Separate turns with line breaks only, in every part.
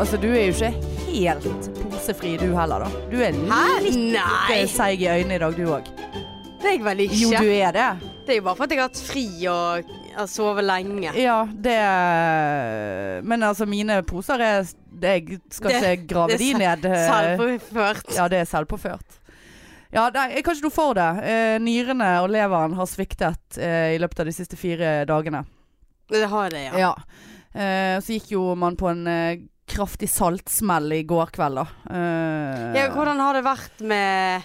Altså, du er jo ikke helt posefri du heller, da. Du er
Hæ?
litt
Nei.
seig i øynene i dag, du òg.
Det er jeg vel ikke.
Jo, du er det.
Det er jo bare for at jeg har hatt fri og har sovet lenge.
Ja, det Men altså, mine poser er det, Jeg skal
Det-
ikke grave
det
de
er
ned. eh,
Selvforført.
Ja, det er selvpåført. Ja, nei, jeg kan ikke noe for det. Eh, nyrene og leveren har sviktet eh, i løpet av de siste fire dagene.
Det har det, ja.
Ja. Eh, så gikk jo man på en eh, kraftig saltsmell i går kveld, da. Eh,
ja. Hvordan har det vært med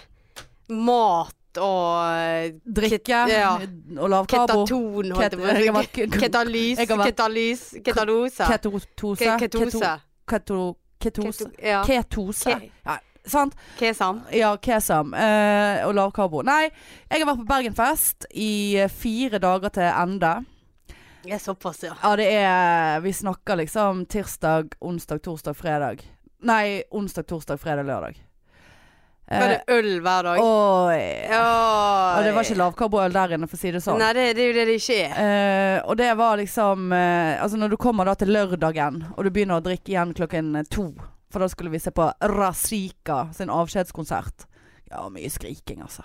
mat og
drikke
Ket- ja.
og lavkarbo.
ketaton? holdt jeg på å si.
Jeg har vært-
Ketalys,
Jeg har vært-
ketalys, ketalose.
Ketose.
Ke- Ketose.
Keto, ketose.
Keto- Ja.
Ketose.
Ke-
Ja, sant?
Kesam.
Ja, kesam. eh, og lavkarbo. Nei, jeg har vært på Bergenfest i eh, fire dager til ende.
Ja, såpass, ja.
Ja, det er Vi snakker liksom tirsdag, onsdag, torsdag, fredag. Nei, onsdag, torsdag, fredag, lørdag.
Var
Eh,
det øl hver dag?
Oi.
Ja.
Og det var ikke lavkarboøl der inne, for å si det sånn.
Nei, det, det er jo det det ikke er.
Eh, og det var liksom eh, Altså når du kommer da til lørdagen, og du begynner å drikke igjen klokken eh, to For da skulle vi se på Razika sin avskjedskonsert. Ja, mye skriking, altså.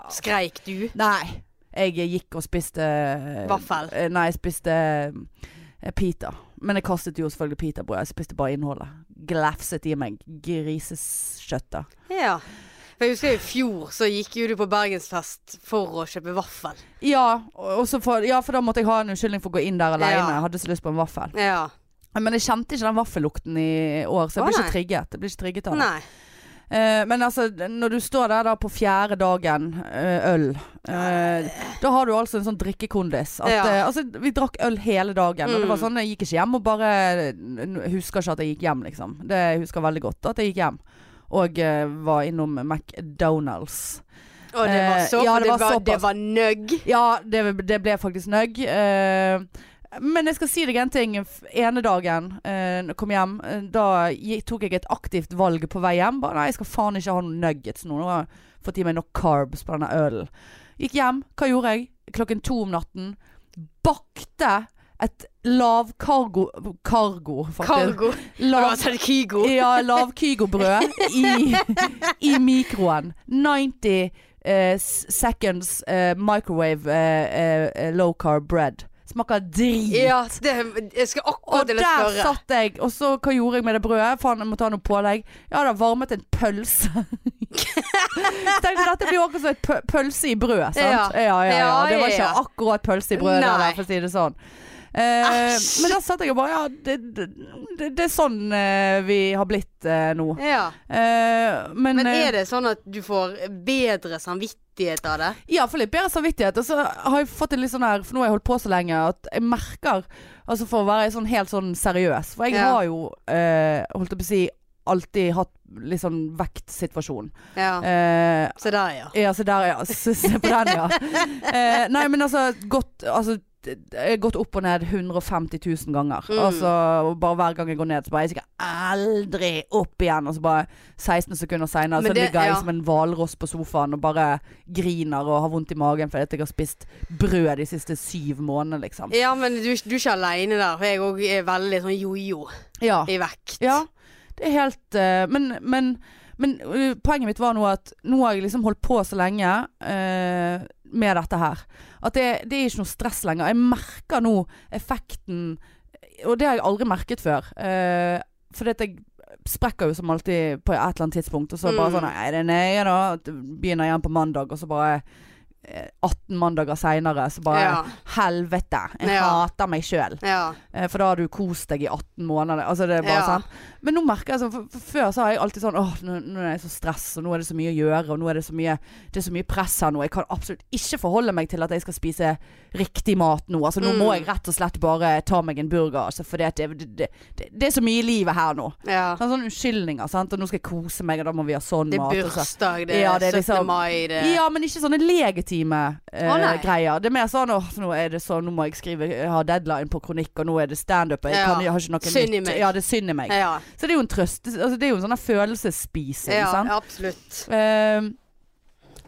Ja.
Skreik du?
Nei. Jeg gikk og spiste eh,
Vaffel.
eh, Nei, jeg spiste eh, pita. Men jeg kastet jo selvfølgelig pitabrød. Jeg spiste bare innholdet. Glefset i meg grisekjøttet.
Ja. For jeg husker i fjor så gikk jo du på Bergensfest for å kjøpe vaffel.
Ja, og og så for, ja, for da måtte jeg ha en unnskyldning for å gå inn der alene.
Ja.
Jeg hadde så lyst på en vaffel.
Ja.
Men jeg kjente ikke den vaffellukten i år, så jeg
Å,
ble ikke
nei.
trigget. Jeg ble ikke trigget av det.
Nei.
Eh, men altså, når du står der da på fjerde dagen, eh, øl eh, Da har du altså en sånn drikkekondis. At,
Ja.
eh, altså, vi drakk øl hele dagen. Og det var
Mm.
sånn, Jeg gikk ikke hjem og bare n- husker ikke at jeg gikk hjem, liksom. Det jeg husker veldig godt at jeg gikk hjem. Og eh, var innom McDonald's.
Og det var
Eh,
så
ja, det
det,
var
var,
såpass.
det var nøgg.
Ja, det, det ble faktisk nøgg. eh, men jeg skal si deg en ting. F- Ene dagen eh, når jeg kom hjem, eh, da gi- tok jeg et aktivt valg på vei hjem. Bare, nei, jeg skal faen ikke ha noen nuggets nå. Nå har jeg fått i meg nok carbs på denne ølen. Gikk hjem. Hva gjorde jeg? Klokken to om natten. Bakte et lavkargo Kargo, faktisk.
Cargo. Det var
Lav,
Tarkigo.
ja, lavkygobrød i, i mikroen. 90 eh, s- seconds eh, microwave eh, eh, low carb bread. Smaker drit.
Ja, det, jeg skal
Og
akkurat til å
der
spørre.
satt jeg. Og så hva gjorde jeg med det brødet? Faen, jeg måtte ha noe pålegg. Jeg hadde varmet en pølse. Jeg tenkte dette blir akkurat som et pø- pølse i brød, sant? Ja.
Ja.
Ja, ja,
Ja,
Det var
ja,
ikke
ja.
akkurat pølse i brød, det
Nei.
der, for å si det sånn. Eh,
Æsj.
men da satt jeg og bare Ja, det, det, det- det er sånn eh, vi har blitt eh, nå.
Ja.
Eh, men,
Men er det sånn at du får bedre samvittighet av det?
Ja, for litt bedre samvittighet. Og så har jeg fått det litt sånn her, for nå har jeg holdt på så lenge, at jeg merker Altså for å være sånn helt sånn seriøs. For jeg
Ja.
har jo, eh, holdt jeg på å si, alltid hatt litt sånn vektsituasjon.
Ja.
Eh,
Se der, ja.
ja, se der, ja. Se se på den, ja. Eh, nei, men altså, gått altså, jeg har gått opp og ned 150 000 ganger.
Mm.
Altså, og bare Hver gang jeg går ned, så bare Jeg skal aldri opp igjen. Og så bare 16 sekunder seinere så
Men det-
ligger jeg
ja.
som en hvalross på sofaen og bare griner og har vondt i magen fordi at jeg har spist brød de siste syv månedene, liksom.
Ja, men du, du er ikke aleine der, for jeg òg er veldig sånn jojo
Ja.
i vekt.
Ah. Ja, det er helt eh, Men, men, men eh, poenget mitt var nå at nå har jeg liksom holdt på så lenge eh, med dette her. At det, det er ikke noe stress lenger. Jeg merker nå effekten, og det har jeg aldri merket før. Uh, fordi at jeg sprekker jo som alltid på et eller annet tidspunkt, og så bare
Mm.
sånn Nei, det er nøye, da. Begynner igjen på mandag, og så bare eh, 18 mandager seinere, så bare
Ja.
Helvete! Jeg
Ja.
hater meg sjøl.
ja.
Eh, For da har du kost deg i 18 måneder. Altså det er bare
Ja.
sånn. Men nå merker jeg sånn for, for Før så har jeg alltid sånn Åh, nå, nå er jeg så stress, og nå er det så mye å gjøre, og nå er det så mye Det er så mye press her nå. Jeg kan absolutt ikke forholde meg til at jeg skal spise riktig mat nå. Altså nå
Mm.
må jeg rett og slett bare ta meg en burger, altså, for det, det, det, det, det er så mye i livet her nå.
ja.
Sånn, sånne unnskyldninger, sant. Og nå skal jeg kose meg, og da må vi ha sånn
Det er
mat. og så-
bursdag, det er
Ja, det er
17.
liksom-
mai, det
ja, men ikke sånne legitime eh,
Eh. Å, nei.
greier. Det er mer sånn åh, nå er det sånn, nå må jeg skrive jeg har deadline på kronikk, og nå er det standup. og Jeg,
Ja.
kan- jeg har ikke noe
Synd i
nytt.
meg.
Ja, det er synd i meg.
ja.
Så det er jo en trøst. Altså, det er jo en sånn her følelsesspising.
ja
sant? Ehm,
absolutt.
Eh,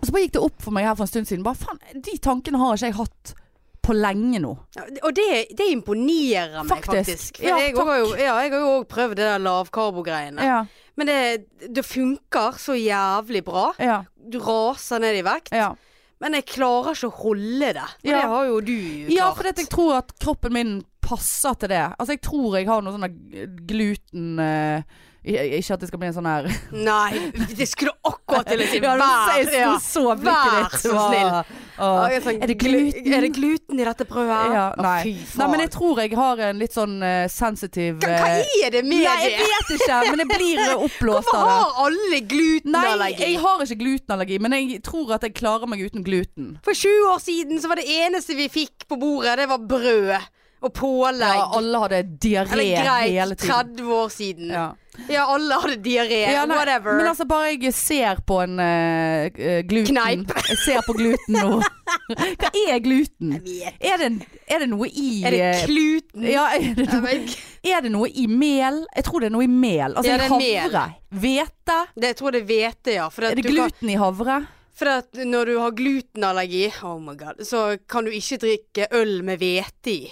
og så bare gikk det opp for meg her for en stund siden. Bare faen, de tankene har ikke jeg hatt på på lenge nå.
Ja, Og det, det imponerer meg
Faktisk.
faktisk. For
Ja,
jeg
takk.
har jo- ja, jeg har jo òg prøvd det der lavkarbo-greiene.
Ja,
Men det, det funker så jævlig bra.
ja,
Du raser ned i vekt.
ja.
Men jeg klarer ikke å holde det. Og
Ja.
det har jo du klart.
Ja, fordi at jeg tror at kroppen min passer til det. Altså, jeg tror jeg har noe sånn der gluten eh, i- Ikke at det skal bli en sånn her
Nei, det skulle du akkurat til å si.
Ja, det var-
Vær,
jeg
ja.
så så blikket
Vær
ditt.
så
var-
snill.
Åh.
Ja, jeg sa,
Er det
glu-
gluten?
Er det gluten i dette brødet? her?
Ja,
Å,
nei.
Fy
Nei,
faen.
men jeg tror jeg har en litt sånn eh, sensitiv
hva,
eh,
hva er det med
Nei, jeg
det?
vet ikke, men jeg blir eh, oppblåst
Hvorfor
av det.
har alle
Nei,
glutenallergi?
jeg har ikke glutenallergi, men jeg tror at jeg klarer meg uten gluten.
For 20 år siden så var det eneste vi fikk på bordet, det var brød og pålegg.
Ja, alle hadde diaré
Eller
hele
greit,
tiden.
30 år siden. Ja,
Ja.
alle hadde diaré.
Ja, nei,
eh, Whatever.
Men altså, bare jeg ser på en eh, eh, gluten
Kneip.
Jeg ser på gluten nå. Hva er gluten?
Jeg vet.
Er det, en- er det noe i
er det
eh,
kluten?
ja, er, det
Jeg
noe,
vet ikke.
er det noe i mel? Jeg tror det er noe i mel. Altså
Ja,
i
det er mel.
havre. Hvete.
Det, jeg tror det er hvete, ja. For, at
Er det
du kan,
gluten i havre?
for at når du har glutenallergi, oh my god, så kan du ikke drikke øl med hvete i.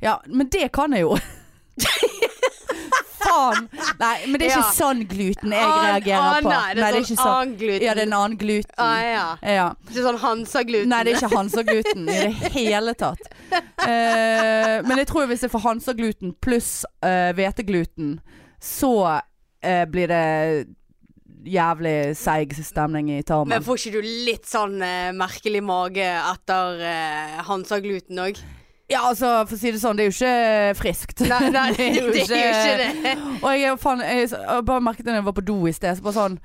Ja, men det kan jeg jo. Faen. Nei, men det er ikke
Ja.
sånn gluten jeg
An-
reagerer
ah,
på.
Nei, det er sånn
ikke sånn.
annen gluten.
Ja, det er en annen gluten.
ah, ja.
Ja.
Det er sånn Hansa-gluten.
Nei, det er ikke Hansa-gluten i det hele tatt. Eh, men jeg tror hvis jeg får Hansa-gluten pluss eh, hvetegluten, så eh, blir det jævlig seig stemning i
Men
tarmen.
får ikke du litt sånn eh, merkelig mage etter eh, Hansa-gluten òg?
Ja, altså, for å si det sånn, det er jo ikke friskt.
Nei, nei,
Det er jo ikke-
det.
Og jeg, er faen, jeg, jeg bare merket det når jeg var på do i sted, så bare sånn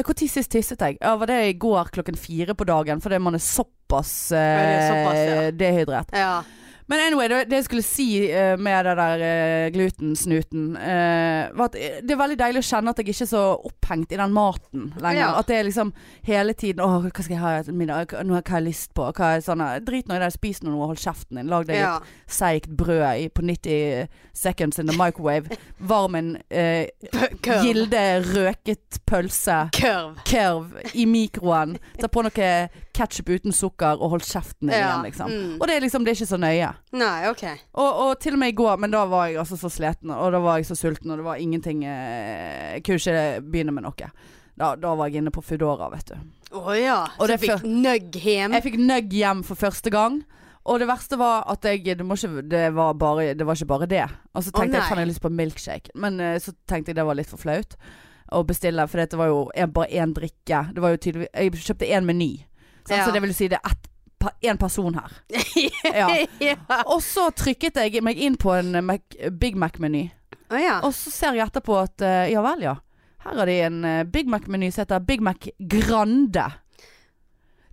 Når sist tisset jeg? Ja, var det i går klokken fire på dagen? Fordi man er såpass, eh,
Ja, det er såpass, ja.
dehydrert.
Ja.
Men anyway, det, det jeg skulle si eh, med det der eh, glutensnuten, eh, var at eh, det er veldig deilig å kjenne at jeg ikke er så opphengt i den maten lenger.
Ja.
At det er liksom hele tiden Å, hva skal jeg ha til middag? Hva- Nå har hva jeg lyst på? Hva er sånn eh, Drit nå i det, spis nå noe, hold kjeften din. Lag deg
ja.
litt seigt brød i, på 90 seconds in the microwave. Varm en eh,
P- Kurv.
gilde røket pølse.
Kurv.
Kurv i mikroen. Ta på noe ketsjup uten sukker og hold kjeften din
Ja.
igjen, liksom.
Mm.
Og det er liksom, det er ikke så nøye.
Nei, OK.
Og, og til og med i går, men da var jeg altså så sliten, og da var jeg så sulten, og det var ingenting eh, Jeg kunne ikke begynne med noe. Da, da var jeg inne på Foodora, vet du.
Å ja.
Og
Så
det
du fikk nøgg hjem.
Jeg fikk nugg hjem for første gang. Og det verste var at jeg Det, må ikke, det, var, bare, det var ikke bare det. Og så
Å,
tenkte jeg
nei.
faen, jeg har lyst på milkshake. Men eh, så tenkte jeg det var litt for flaut å bestille, for det var jo en, bare én drikke. Det var jo tydelig, jeg kjøpte én meny. sant?
Ja.
Så det vil si det er ett pa- én person her. Ja.
ja.
Og så trykket jeg meg inn på en eh, Mac, Big Mac-meny.
Å ja.
Og så ser jeg etterpå at eh, ja vel, ja. Her har de en eh, Big Mac-meny som heter Big Mac Grande.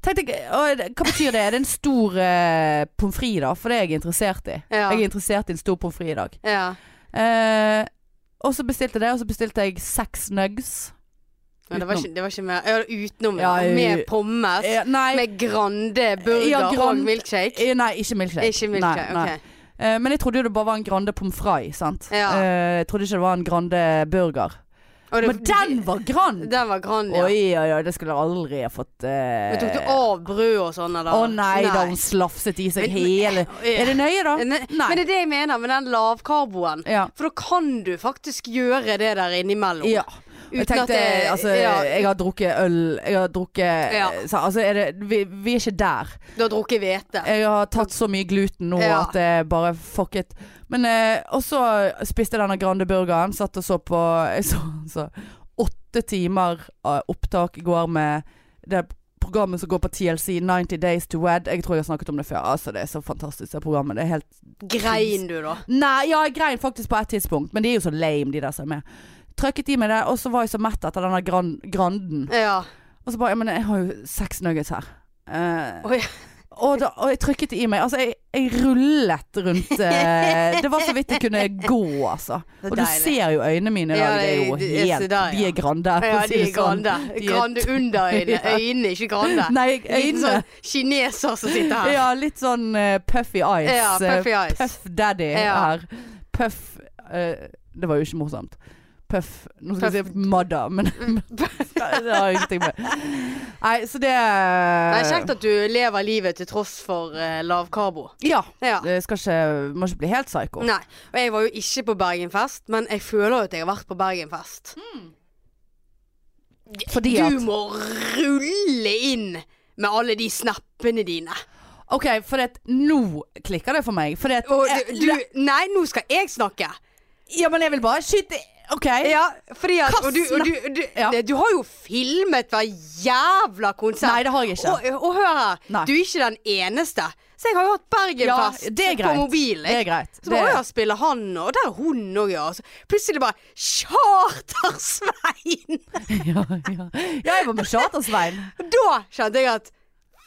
Tenkte jeg, «Å, er det- Hva betyr det? Er det en stor uh, pommes frites, da? For det er jeg interessert i.
Ja.
Jeg er interessert i en stor pommes frites i dag.
ja.
Eh, og så bestilte jeg det, og så bestilte jeg seks nugs.
Ja, det, var
Utenom.
ikke, det var ikke mer. Ja, utenom.
Ja,
ja. Med
jeg-
pommes.
Eh, nei,
Med Grande burger
Ja, Grand-
og milkshake.
eh, nei, ikke milkshake.
Ikke
Nei,
milkshake.
nei.
ok.
Eh, men jeg trodde jo det bare var en Grande pommes frites, sant.
Ja.
Eh, jeg trodde ikke det var en Grande burger.
Og det-
Men den var grand!
Den var Grande, ja.
Oi, oi, oi, det skulle jeg aldri ha fått eh,
Men tok du av brød og sånn, eller?
Å nei, da hun slafset i seg
Men-
hele Er det nøye, da?
Nei.
Nei.
Men det er det jeg mener med den lavkarboen.
Ja.
For da kan du faktisk gjøre det der innimellom.
ja. Jeg
Uten
tenkte,
at det-
altså,
ja.
jeg har drukket øl Jeg har drukket
Ja.
så, Altså, er det, vi, vi er ikke der.
Du har drukket hvete.
Jeg har tatt så mye gluten nå
Ja.
at det er bare fuck it. Men eh, Og så spiste jeg denne Grande burgeren. Satt og så på Jeg så, så åtte timer av opptak i går med det programmet som går på TLC, 90 Days to Wed. Jeg tror jeg har snakket om det før. Altså, det er så fantastisk, det programmet. Det er helt
Grein du, da?
Nei, ja, jeg grein faktisk på et tidspunkt, men de er jo så lame, de der som er med. Trøkket i meg det, og så var jeg så mett etter denne gran Granden.
Ja.
Og så bare Ja, men jeg har jo seks nuggets her. Eh,
Oi.
og, da, og jeg trykket det i meg. Altså, jeg, jeg rullet rundt eh, Det var så vidt jeg kunne gå, altså.
Så
Og du
deilig.
ser jo øynene mine i
Ja,
dag. Det er jo
det- det er så
helt
der,
De
ja.
er grande, for
Ja,
å si
de
det
er
sånn.
grande.
De er-
Grande under øynene.
Ja.
Øynene, ikke grande.
Nei,
Liten
øynene.
sånn kineser som sitter her.
Ja, litt sånn eh, puffy eyes.
Ja,
eh,
puffy eyes.
Puff Daddy
Ja.
her. Puff eh, Det var jo ikke morsomt. Puff Nå skal jeg si Madda, men
Mm.
det har jeg ingenting med. Nei, så det
Det er kjekt at du lever livet til tross for eh, lav karbo.
Ja.
Ja.
Det skal ikke, må ikke bli helt psyko.
Nei. Og jeg var jo ikke på Bergenfest, men jeg føler jo at jeg har vært på Bergenfest.
Fordi
du
at
må rulle inn med alle de snappene dine.
OK, for det, at nå klikker det for meg. For det, at-
Og
jeg-
du, du Nei, nå skal jeg snakke.
Ja, men jeg vil bare skyte OK.
Ja, fordi at
Hva
og du, og du, du,
Ja.
det- du har jo filmet hver jævla konsert.
Nei, det har jeg ikke.
Og, og hør her,
Nei.
du er ikke den eneste. Så jeg har jo hatt Bergenfest
Ja, det er
på
greit.
mobilen.
Det er greit.
Så
Det-
bare, «Å ja, spiller han, og der er hun òg, ja. Så plutselig bare Charter-Svein!
ja, ja. ja, jeg var med Charter-Svein.
Da kjente jeg at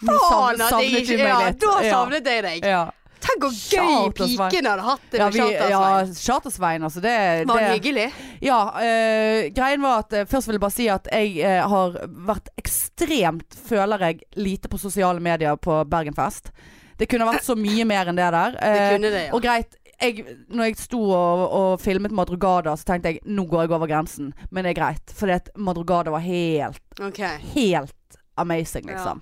Nå savn-
faen at jeg
savnet du
ikke
meg
Ja,
litt.
da
Ja.
savnet jeg deg.
Ja.
Tenk hvor gøy
Charter-Svein.
piken hadde hatt det
Ja,
med
vi, ja,
Charter-Svein.
Charter-Svein, altså det,
Var han
det
hyggelig?
Ja, eh, greien var at eh, Først vil jeg bare si at jeg eh, har vært ekstremt, føler jeg, lite på sosiale medier på Bergenfest. Det kunne vært så mye mer enn det der.
Det
Eh,
kunne det, ja.
Og greit, jeg, når jeg sto og, og filmet Madrugada, så tenkte jeg nå går jeg over grensen. Men det er greit, for Madrugada var helt,
Ok.
helt amazing, liksom.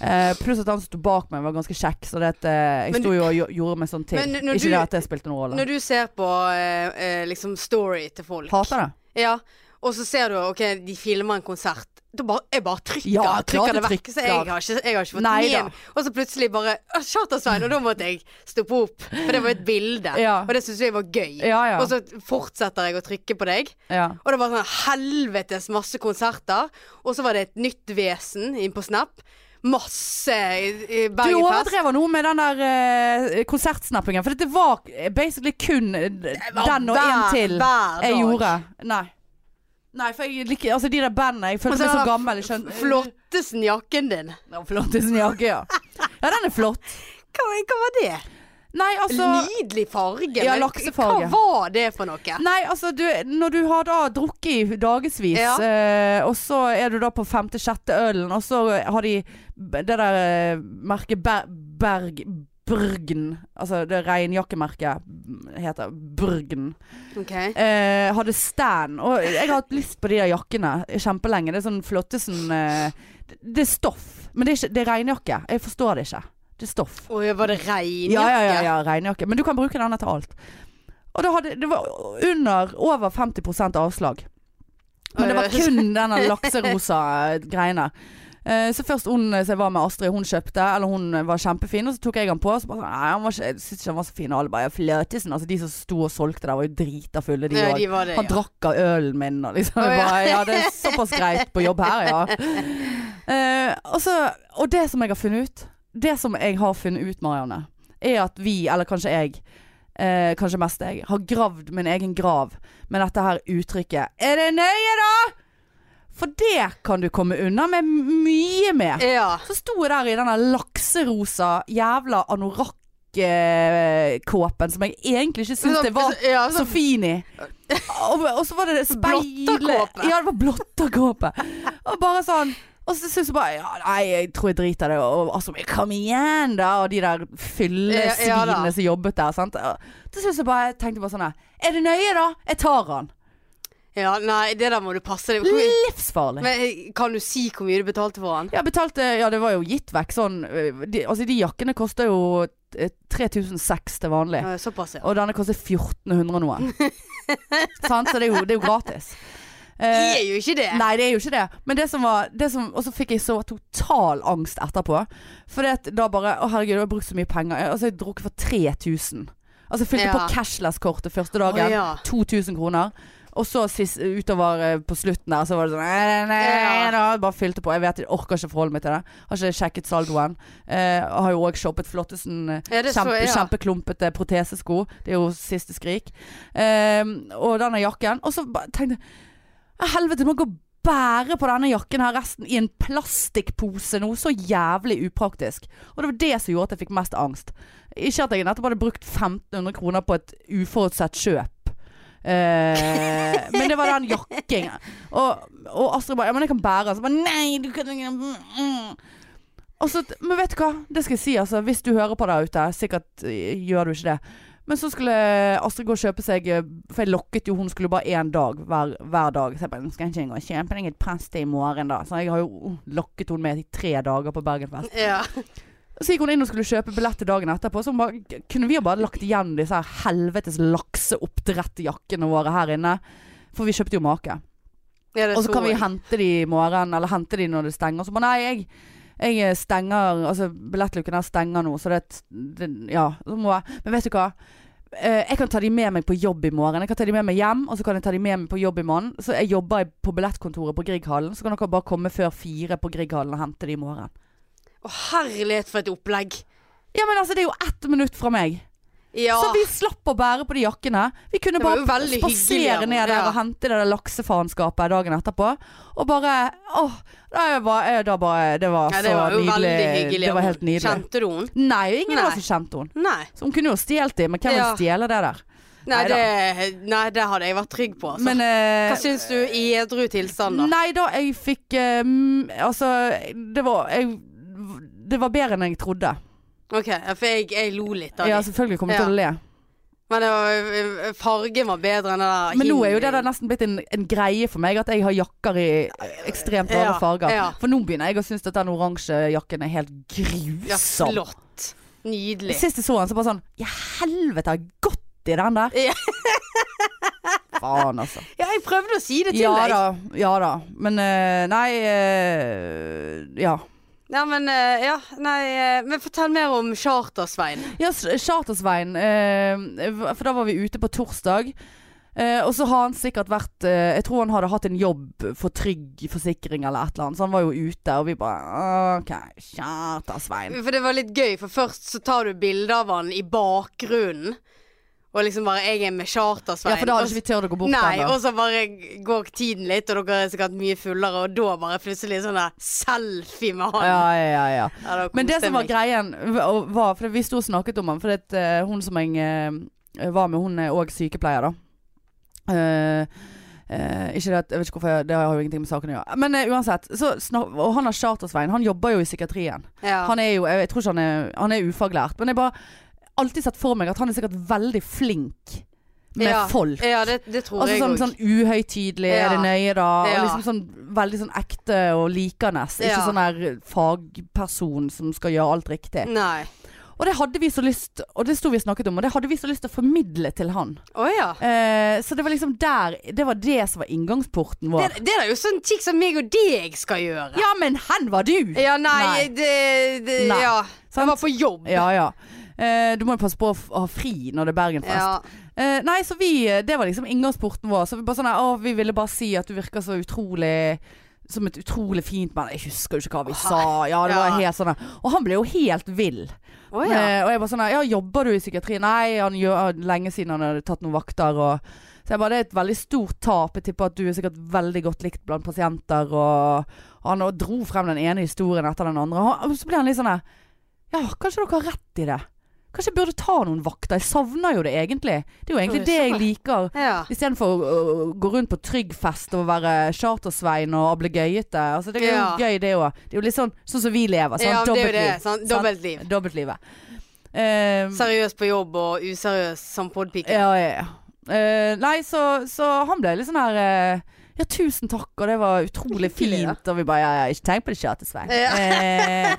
Eh, pluss at han som sto bak meg, var ganske kjekk, så det at, eh, jeg
Men
sto jo og gjo- gjorde meg sånn til.
Men når
Ikke
du-
det at det spilte noen rolle.
Når du ser på eh, eh, liksom story til folk
Hater det.
Ja, og så ser du ok, de filmer en konsert. Da bare, jeg bare trykker,
Ja, klart
trykker det
du
vekk. Så jeg
trykker.
har ikke, jeg har ikke fått
Nei da.
min. Og så plutselig bare «Å, Charter-Svein, og da måtte jeg stoppe opp. For det var et bilde,
Ja.
og det syntes jeg var gøy.
Ja, ja.
Og så fortsetter jeg å trykke på deg.
ja.
Og det var sånn helvetes masse konserter. Og så var det et nytt vesen inn på Snap. Masse eh,
Du
Bergenfest.
overdrev noe med den der eh, konsertsnappingen. For det var basically kun eh, den og en
Hver-
til
hver dag.
jeg gjorde. Nei. Nei, for jeg liker Altså, de der bandene Jeg
Og
følte
så
meg så
den der
gammel. Jeg skjønte
Flottesen jakken din.
Ja, Flottisen sånn jakke, ja. Ja, den er flott.
Hva, hva var det?
Nei, altså
Nydelig farge.
Ja,
men
laksefarge.
Hva var det for noe?
Nei, altså, du, når du har da drukket i dagevis,
Ja.
eh, og så er du da på femte-sjette ølen, og så har de b- det der eh, merket Ber Berg... Burgen. Altså det reinjakkemerket heter Burgen.
Ok.
eh, hadde stand. Og jeg har hatt lyst på de der jakkene kjempelenge. Det er sånn flottesen eh, det- Det er stoff. Men det er, ikke, det er regnjakke. Jeg forstår det ikke. Det er stoff.
Oi, var det regnjakke?
Ja, ja, ja, ja regnjakke. Men du kan bruke denne til alt. Og da hadde, det var under over 50 avslag. Men det var kun denne lakserosa greiene. Eh, Så først hun eh, som jeg var med Astrid, hun kjøpte, eller hun eh, var kjempefin, og så tok jeg han på. Og så bare sånn, nei, han var ikke, jeg synes ikke han var så fin. Og alle bare, ja, fløtisen. Altså de som sto og solgte der var jo drita fulle, de òg.
Ja, Eh, de var det,
Han
ja.
drakk av ølen min og liksom
Å,
jeg
ja.
bare, Ja, det er såpass greit på jobb her, ja. Eh, og, så, og det som jeg har funnet ut Det som jeg har funnet ut, Marianne, er at vi, eller kanskje jeg eh, kanskje mest jeg, har gravd min egen grav med dette her uttrykket. Er det nøye, da?! For det kan du komme unna med mye mer.
Ja.
Så sto jeg der i denne lakserosa jævla anorakk-kåpen som jeg egentlig ikke syntes det var
ja, så,
Sofini. Og, og så var det det speile
Blotterkåpe.
Ja, det var blotterkåpe. Og bare sånn Og så syns jeg bare ja, Nei, jeg tror jeg driter i det. Og altså, men kom igjen, da. Og de der fyllesvinene
Ja, ja da.
som jobbet der. Sant? Og Så syns jeg bare jeg tenkte bare sånn her Er det nøye, da? Jeg tar han.
ja, nei, det der må du passe deg Hvor mye-
Livsfarlig.
Men eh, Kan du si hvor mye du betalte for han?
Jeg betalte Ja, det var jo gitt vekk sånn øh, de, Altså, de jakkene koster jo eh, 3006 til vanlig.
Ja, Eh, Såpass, ja.
Og denne koster 1400 noe. Sant? Så det er jo, det er jo gratis.
De
Eh,
er jo ikke det.
Nei, det er jo ikke det. Men det som var det som, Og så fikk jeg så total angst etterpå. For det at da bare Å, herregud, jeg har brukt så mye penger. Jeg- Altså, jeg har drukket for 3000. Altså, jeg fylte
Ja.
på cashless-kortet første dagen.
Å, ja.
2000 kroner. Og så sist, utover eh, på slutten der, så var det sånn nei, nei, nei,
Ja.
nei, da. Jeg Bare fylte på. Jeg vet, jeg orker ikke forholde meg til det. Har ikke sjekket Altså, saldoen. Eh, og har jo òg shoppet Flottesen. eh,
Ja, det så
kjempe,
jeg, ja.
Kjempeklumpete protesesko. Det er jo siste skrik. Eh, og denne jakken. Og så ba- tenkte jeg «Å, Helvete, jeg må gå og bære på denne jakken her resten i en plastikkpose nå. Så jævlig upraktisk. Og det var det som gjorde at jeg fikk mest angst. Ikke at jeg nettopp hadde brukt 1500 kroner på et uforutsett kjøp. Eh, men det var den jakkingen. Og, og Astrid bare 'Ja, men jeg kan bære den.' Så bare 'Nei, du kan ikke mm.» Og så, Men vet du hva? Det skal jeg si, altså. Hvis du hører på der ute, sikkert eh, gjør du ikke det. Men så skulle Astrid gå og kjøpe seg eh, For jeg lokket jo, hun skulle bare én dag hver, hver dag. Så jeg bare, skal ikke jeg gå og kjøpe deg et preste i morgen, da? Så jeg har jo uh, lokket hun med i tre dager på Bergenfest.
Ja.
Så gikk hun inn og skulle kjøpe billett til dagen etterpå. Så hun bare, kunne vi jo bare lagt igjen disse her helvetes lakseoppdrettjakkene våre her inne. For vi kjøpte jo make.
Ja, det
Og så kan
jeg.
vi hente de i morgen, eller hente de når det stenger. Og så bare nei, jeg, jeg stenger Altså billettluken her stenger nå, så det, det Ja. Så må jeg Men vet du hva? Eh, Jeg kan ta de med meg på jobb i morgen. Jeg kan ta de med meg hjem, og så kan jeg ta de med meg på jobb i morgen. Så jeg jobber i- på billettkontoret på Grieghallen, så kan dere bare komme før fire på Grieghallen og hente de i morgen.
Å, herlighet for et opplegg.
Ja, men altså, det er jo ett minutt fra meg.
Ja.
Så vi slapp å bære på de jakkene. Vi kunne
Det var jo
bare
veldig hyggelig av
spasere
henne,
ned der
ja.
og hente det der laksefaenskapet dagen etterpå. Og bare Åh! Da var, jeg- da bare, eh, det var
ja,
så
det var jo veldig
Altså, nydelig.
hyggelig.
Det
av
var helt
henne.
nydelig.
Kjente du henne?
Nei, ingen av
Nei.
oss som kjente henne.
Nei.
Så hun kunne jo stjålet dem, men hvem vil
Ja.
stjele det der?
Nei,
Neida.
det, nei, det hadde jeg vært trygg på. Altså.
Men eh,
Hva syns du i edru tilstand, da?
Nei da, jeg fikk eh, mm, Altså, det var jeg, Det var bedre enn jeg trodde.
Ok, ja, For jeg, jeg lo litt av
Ja,
det.
selvfølgelig kommer jeg til å le.
Men det var, eh, fargen var bedre enn det der.
Men nå er jo det
hin-
der nesten blitt en, en greie for meg, at jeg har jakker i ekstremt rare
Ja,
farger.
ja.
For nå begynner jeg å synes at den oransje jakken er helt
Ja,
grusom.
flott. Nydelig.
Sist jeg så den, så bare sånn Ja, helvete, har jeg gått i den der?
Ja.
Faen, altså.
Ja, jeg prøvde å si det til
Ja
deg.
da. Ja da. Men eh, nei eh, Ja.
Nei, men, eh, ja, nei, eh, men fortell mer om Charter-Svein.
Ja, S- Chartersvein. eh, for da var vi ute på torsdag. Eh, og så har han sikkert vært eh, Jeg tror han hadde hatt en jobb for trygg forsikring eller et eller annet. Så han var jo ute, og vi bare OK, Chartersvein.
For det var litt gøy, for først så tar du bilder av han i bakgrunnen. Og liksom bare 'Jeg er med Charter-Svein'.
Ja, for da hadde ikke vi turt å gå bort
Nei,
ennå.
og så bare går tiden litt, og dere er sikkert mye fullere, og da bare plutselig sånn der selfie med han.
Ja, ja, ja, ja.
Ja, da koste
Men det som var
jeg meg.
greien, var, var For vi sto og snakket om han, for det, eh, hun som jeg eh, var med, hun er òg sykepleier, da. Eh, eh, ikke det, at- jeg vet ikke hvorfor jeg, Det har jo ingenting med saken å gjøre. Men eh, uansett. Så, snak- og han har Chartersvein. Han jobber jo i psykiatrien.
ja.
Han er jo, jeg, jeg tror ikke han er, han er ufaglært, men jeg bare alltid sett for meg at han er sikkert veldig flink med
Ja,
folk.
Ja, det, det tror
Altså
jeg
sånn,
òg.
sånn uhøytidelig,
Ja.
er det nøye da?
Ja.
Og liksom sånn veldig sånn ekte og likende. Ikke
Ja.
sånn der fagperson som skal gjøre alt riktig.
Nei.
Og det hadde vi så lyst Og det sto vi og snakket om, og det hadde vi så lyst til å formidle til han.
Å ja.
Eh, så det var liksom der Det var det som var inngangsporten
Det,
vår.
det er jo sånn ting som meg og deg skal gjøre.
Ja, men hen var du?
Ja, nei,
Nei.
det, det
Nei.
Ja.
Sant?
Jeg var på jobb.
Ja, ja. Eh, du må jo passe på å f- ha fri når det er Bergenfest.
Ja.
Eh, nei, så vi, det var liksom inngangsporten vår. Så vi, bare sånn, her, å, vi ville bare si at du virker så utrolig som et utrolig fint men Jeg husker jo ikke hva vi sa. Ja, det var
Ja.
helt sånn her. Og han ble jo helt vill.
Å ja.
Eh, og jeg bare sånn her, Ja, jobber du i psykiatri? Nei, han gjør ah, lenge siden han hadde tatt noen vakter. Og, så jeg bare Det er et veldig stort tap. Jeg tipper at du er sikkert veldig godt likt blant pasienter. Og, og han og dro frem den ene historien etter den andre. Og han- Og så ble han litt sånn her Ja, kanskje dere har rett i det. Kanskje jeg burde ta noen vakter. Jeg savner jo det egentlig. Det er jo egentlig
Oi,
det jeg
sånn.
liker.
ja.
Istedenfor å å gå rundt på Tryggfest og være chartersvein og ablegøyete. Altså, det er jo
Ja.
gøy, det òg. Det er jo litt sånn sånn som vi lever. Sånn,
ja det er jo det.
dobbeltliv.
Sånn,
Sant?
dobbeltliv.
Dobbeltlivet. Eh,
Seriøs på jobb og useriøs som podpike.
ja, ja, ja. Eh, nei, så, så han ble litt sånn her eh, Ja, tusen takk, og det var utrolig
Hyggelig, da.
fint. Og vi bare ja, ja, Ikke tenk på det, Chartersvein.
Ja.
Eh,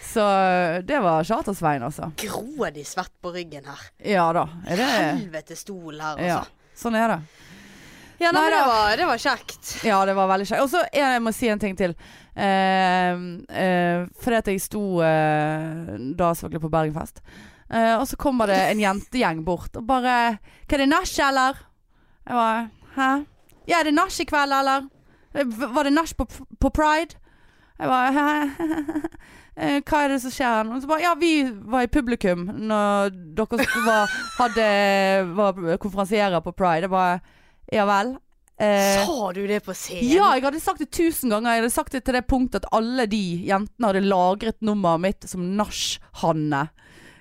så det var Chartersvein, altså.
Grådig svett på ryggen her.
Ja da. Er det
Helvete stol her, altså.
Ja. Sånn er det.
Ja, nei,
Nei
men det
da.
var, det var kjekt.
Ja, det var veldig kjekt. Og så eh, jeg må si en ting til. Eh, eh, fordi at jeg sto eh, da selvfølgelig på Bergenfest. Eh, og så kommer det en jentegjeng bort og bare 'Hva er det nach, eller?' Jeg bare 'Hæ?' 'Ja, er det nach i kveld, eller?' Eh, «V- 'Var det nach på, på Pride?' Jeg bare «Hæ? Eh, 'Hva er det som skjer her nå?' Så bare 'Ja, vi var i publikum når dere sk- var, hadde, var konferansierer på Pride.' Jeg bare 'Ja vel'. Eh,
Sa du det på scenen?
ja, jeg hadde sagt det tusen ganger. Jeg hadde sagt det til det punktet at alle de jentene hadde lagret nummeret mitt som nach-Hanne.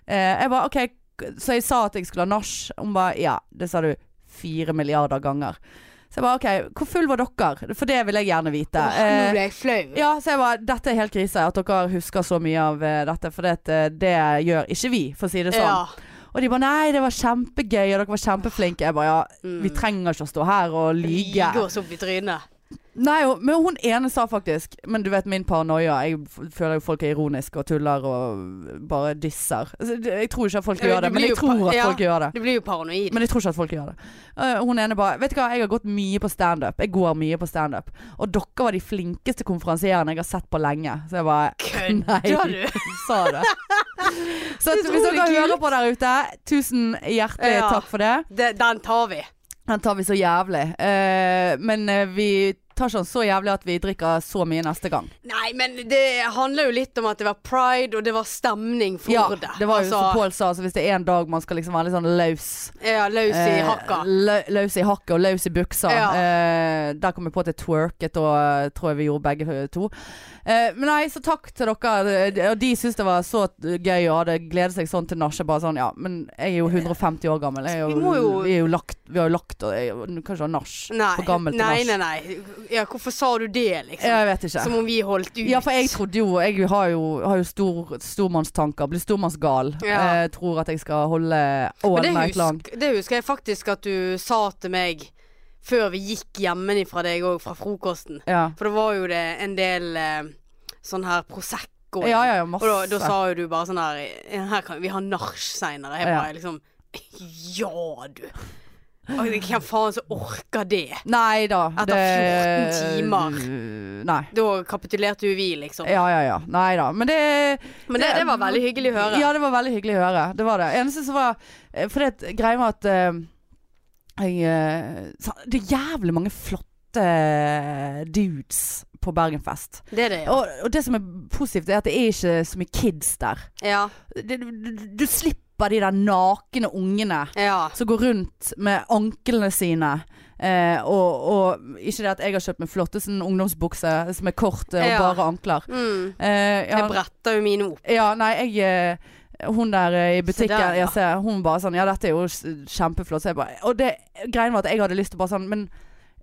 Eh, jeg bare, ok, k- Så jeg sa at jeg skulle ha nach. Hun bare ja, det sa du fire milliarder ganger. Så jeg bare ok, hvor full var dere? For det vil jeg gjerne vite.
Åh, nå ble jeg flau.
Eh, ja, så jeg bare, Dette er helt krise at dere husker så mye av eh, dette, for det, at, eh, det gjør ikke vi, for å si det sånn.
Ja.
Og de bare 'nei, det var kjempegøy, og dere var kjempeflinke'. Jeg bare 'ja, vi
Mm.
trenger ikke å stå her og lyge'.
Lyge oss opp i trynet.
Nei, hun- men hun ene sa faktisk Men du vet min paranoia. Jeg f- føler jo folk er ironiske og tuller og bare disser. Altså, det- Jeg tror ikke at folk
Ja,
gjør
du
det, men
blir
jeg
jo
tror
pa-
at
ja.
folk gjør det.
Du blir jo paranoid.
Men jeg tror ikke at folk gjør det. Eh, hun ene bare Vet du hva, jeg har gått mye på standup. Jeg går mye på standup. Og dere var de flinkeste konferansierene jeg har sett på lenge. Så jeg bare
Kødder
Nei.
du?
sa det. Så at, hvis
Utrolig
dere hører
kult.
på der ute, tusen hjertelig
Ja.
takk for det.
Det- Den tar vi.
Den tar vi så jævlig. Eh, men eh, vi tar ikke den så jævlig at vi drikker så mye neste gang.
Nei, men det handler jo litt om at det var pride, og det var stemning for
ja,
det.
var jo som
altså,
Pål sa, så hvis det er en dag man skal liksom være litt sånn løs
ja, løs i
eh,
hakka.
lø- Løs i hakka og løs i buksa.
Ja.
Eh, der kom jeg på at jeg twerket, og eh, tror jeg vi gjorde begge to. Eh, men nei, så takk til dere. eh, Og de syntes det var så gøy og hadde gledet seg sånn til nachspiel. Bare sånn, ja, men jeg er jo 150 år gammel. Jeg er jo,
Vi må jo-
vi, er jo lagt, vi har jo lagt og jeg er jo- Kan ikke ha nach.
Nei,
For gammel til
nei,
nach.
nei, nei. Ja, hvorfor sa du det, liksom?
Jeg vet ikke.
Som om vi holdt ut.
Ja, for jeg trodde jo Jeg har jo, har jo stor, stormannstanker. Blir stormannsgal.
Ja.
Eh, tror at jeg skal holde
Men
all
det
night long.
husk- det husker jeg faktisk at du sa til meg før vi gikk hjemmefra deg òg, fra frokosten.
Ja.
For det var jo det en del eh, sånn her Prosecco.
ja, ja, ja,
Og
masse.
da, da sa jo du bare sånn her "Ja, Her kan vi ha nach seinere. Jeg
Ja.
bare liksom Ja, du. Og det- Hvem faen som orker det?
Nei da.
Etter 14 timer.
Nei.
Da kapitulerte jo vi, liksom.
Ja, ja, ja. Nei da. Men det
Men det, det var veldig hyggelig å høre.
Ja, det var veldig hyggelig å høre. Det var det. Eneste som var eh, For det er greia med at eh, jeg, eh, sa- Det er jævlig mange flotte dudes på Bergenfest.
Det er det, ja.
Og, og det som er positivt, er at det er ikke så mye kids der.
Ja.
det, du, du- du slipper de der nakne ungene
ja.
som går rundt med anklene sine. Eh, og, og ikke det at jeg har kjøpt meg flotte sånn ungdomsbukse som er korte og
Ja.
bare ankler.
Mm.
Eh,
Jeg
ja,
bretter jo mine opp.
ja, nei, jeg eh, Hun der eh, i
Se
butikken,
der, ja.
jeg ser, hun bare sånn Ja, dette er jo s- kjempeflott. Så jeg bare, og det, greien var at jeg hadde lyst til å bare sånn Men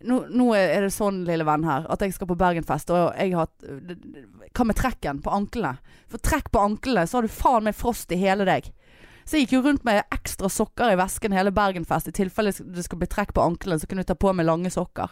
nå, nå er det sånn, lille venn her, at jeg skal på Bergenfest, og jeg har Hva med trekken på anklene? For trekk på anklene, så har du faen meg frost i hele deg. Så jeg gikk jo rundt med ekstra sokker i vesken hele Bergenfest. I tilfelle det skulle bli trekk på anklene, så kunne du ta på meg lange sokker.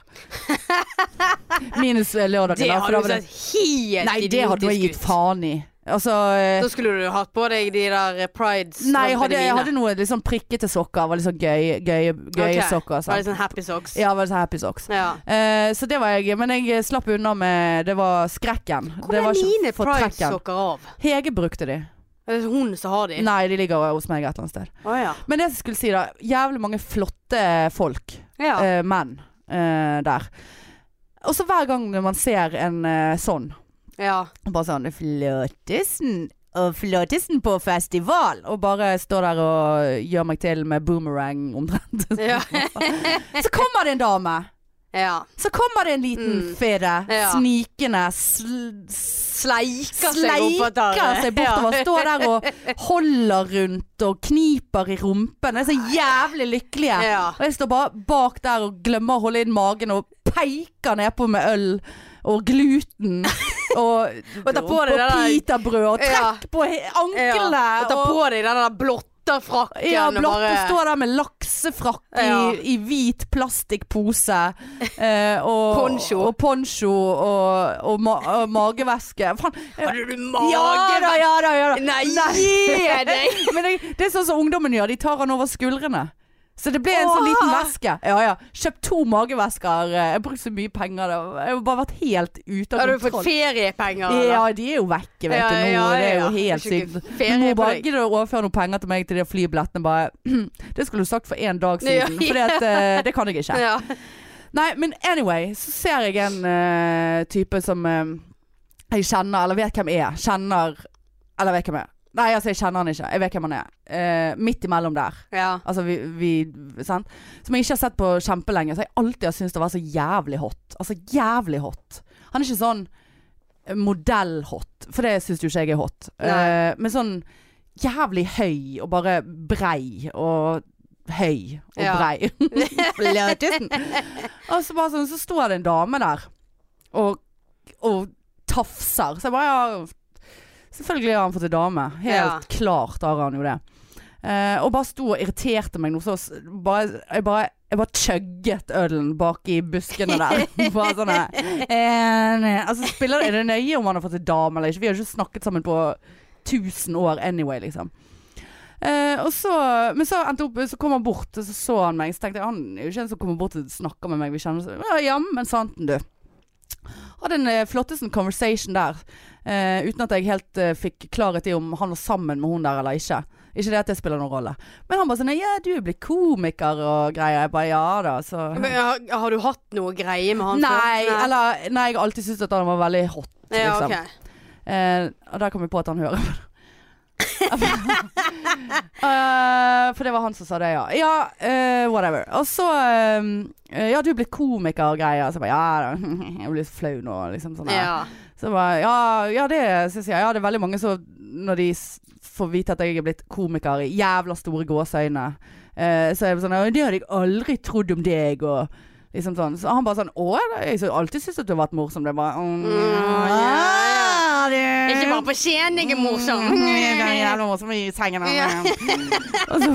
Minus eh, lørdagen,
Det
da. For da var
hadde du
det
sett helt
Nei, det hadde jeg gitt
idiotisk ut.
faen i. Altså eh,
Da skulle du hatt på deg de der eh, prides.
Nei, jeg hadde, jeg
mine.
hadde noe litt sånn prikkete sokker. Var litt sånn gøye, gøye, gøye
Ok.
sokker.
Var det
Sant?
sånn happy socks?
Ja, var det sånn happy socks.
Ja.
Eh, så det var jeg, men jeg slapp unna med Det var skrekken.
Hvor
det
er
var ikke
mine
fortrekken.
pridesokker av?
Hege brukte de.
Er det hun som har de?
Nei, de ligger hos meg et eller annet sted.
Å ja.
Men det jeg skulle si, da. Jævlig mange flotte folk.
ja.
eh, menn eh, der. Og så hver gang man ser en eh, sånn,
ja.
bare sånn Flottisen og flottisen på festival! Og bare står der og gjør meg til med boomerang omtrent.
Ja.
så kommer det en dame!
ja.
Så kommer det en liten
Mm.
fidde
Ja.
snikende. Sl
Sleiker seg
sleiker
oppover der.
seg bortover. Står der og holder rundt og kniper i rumpen. De er så jævlig lykkelige.
Ja.
Og jeg står bare bak der og glemmer å holde inn magen og peiker nedpå med øl og gluten. Og,
Og ta på deg det der-
pitabrød og
Ja.
trekk på he- anklene.
Ja. Og ta på deg den der blotta frakken
ja,
og
blått
bare
og står der med laksefrakk
Ja.
i, i hvit plastikkpose. Eh, og,
Poncho.
Og, poncho og, og, ma og magevæske. Faen. eh,
Hadde du
Ja da,
mage?
ja da, ja da.
Nei, gi deg!
Men det, det er sånn som ungdommen gjør, de tar han over skuldrene. Så det ble en sånn
Åh!
liten veske. Ja, ja. Kjøpt to magevesker. eh, Jeg brukte så mye penger. da. Jeg har bare vært helt ute av
Har du fått
kontroll.
feriepenger? eller?
Ja, de er jo vekke, vet
Ja,
du. Nå,
ja,
Det er jo
ja.
helt
Det er ikke
sykt.
ferie
Du må
på
bare
deg.
gidde å overføre noen penger til meg til de flybillettene. Bare Det skulle du sagt for en dag
Ja.
siden. For uh, det kan jeg ikke.
Ja.
Nei, men anyway, så ser jeg en eh, type som eh, jeg kjenner, eller vet hvem er. Kjenner Eller vet hvem er. Nei, altså, jeg kjenner han ikke. Jeg vet hvem han er. Eh, midt imellom der.
ja.
Altså, vi, vi sant? Som jeg ikke har sett på kjempelenge. Så jeg alltid har syntes det var så jævlig hot. Altså jævlig hot. Han er ikke sånn modell-hot, for det syns jo ikke jeg er hot.
Nei.
Eh, men sånn jævlig høy og bare brei og høy og
Ja.
brei. Bløtisen. og så bare sånn, så står det en dame der og, og tafser. Så jeg bare ja, Selvfølgelig har han fått en dame. Helt
Ja.
klart har han jo det. Eh, og bare sto og irriterte meg noe så s- bare, Jeg bare jeg bare chugget ølen bak i buskene der. Bare sånn her. eh, nei. altså, spiller, er det nøye om han har fått en dame eller ikke? Vi har jo ikke snakket sammen på 1000 år anyway, liksom. Eh, og så, men så endte opp, så kom han bort, og så så han meg. Så tenkte jeg han er jo ikke en som kommer bort og snakker med meg. Vi kjenner oss ja, jammen santen, du. Hadde en eh, flottesten conversation der. eh, uten at jeg helt eh, fikk klarhet i om han var sammen med hun der eller ikke. Ikke det at det spiller noen rolle. Men han bare sånn Ja, du er blitt komiker og greier. Jeg bare ja da, så
Men, har, har du hatt noe greie med han
Nei, eller Nei, jeg har alltid syntes at han var veldig hot,
ja,
liksom.
ok.
Eh, og der kom jeg på at han hører på det. Eh, for det var han som sa det, ja. Ja, eh, whatever. Og så eh, Ja, du er blitt komiker og greier. Så jeg bare ja da. Jeg blir så flau nå, liksom. Sånn, her.
Ja.
Så bare, ja, ja, det syns jeg. Ja, det er veldig mange som når de s- får vite at jeg er blitt komiker i jævla store gåseøyne, eh, så er det sånn «Å, Det hadde jeg aldri trodd om deg, og liksom sånn. Så han bare sånn Å, jeg har alltid syntes at du har vært morsom. Det er bare mm,
Mm,
ja, det-
Ikke bare på Skien jeg er morsom.
Mm, jeg er jævla morsom i sengen.
Ja.
og så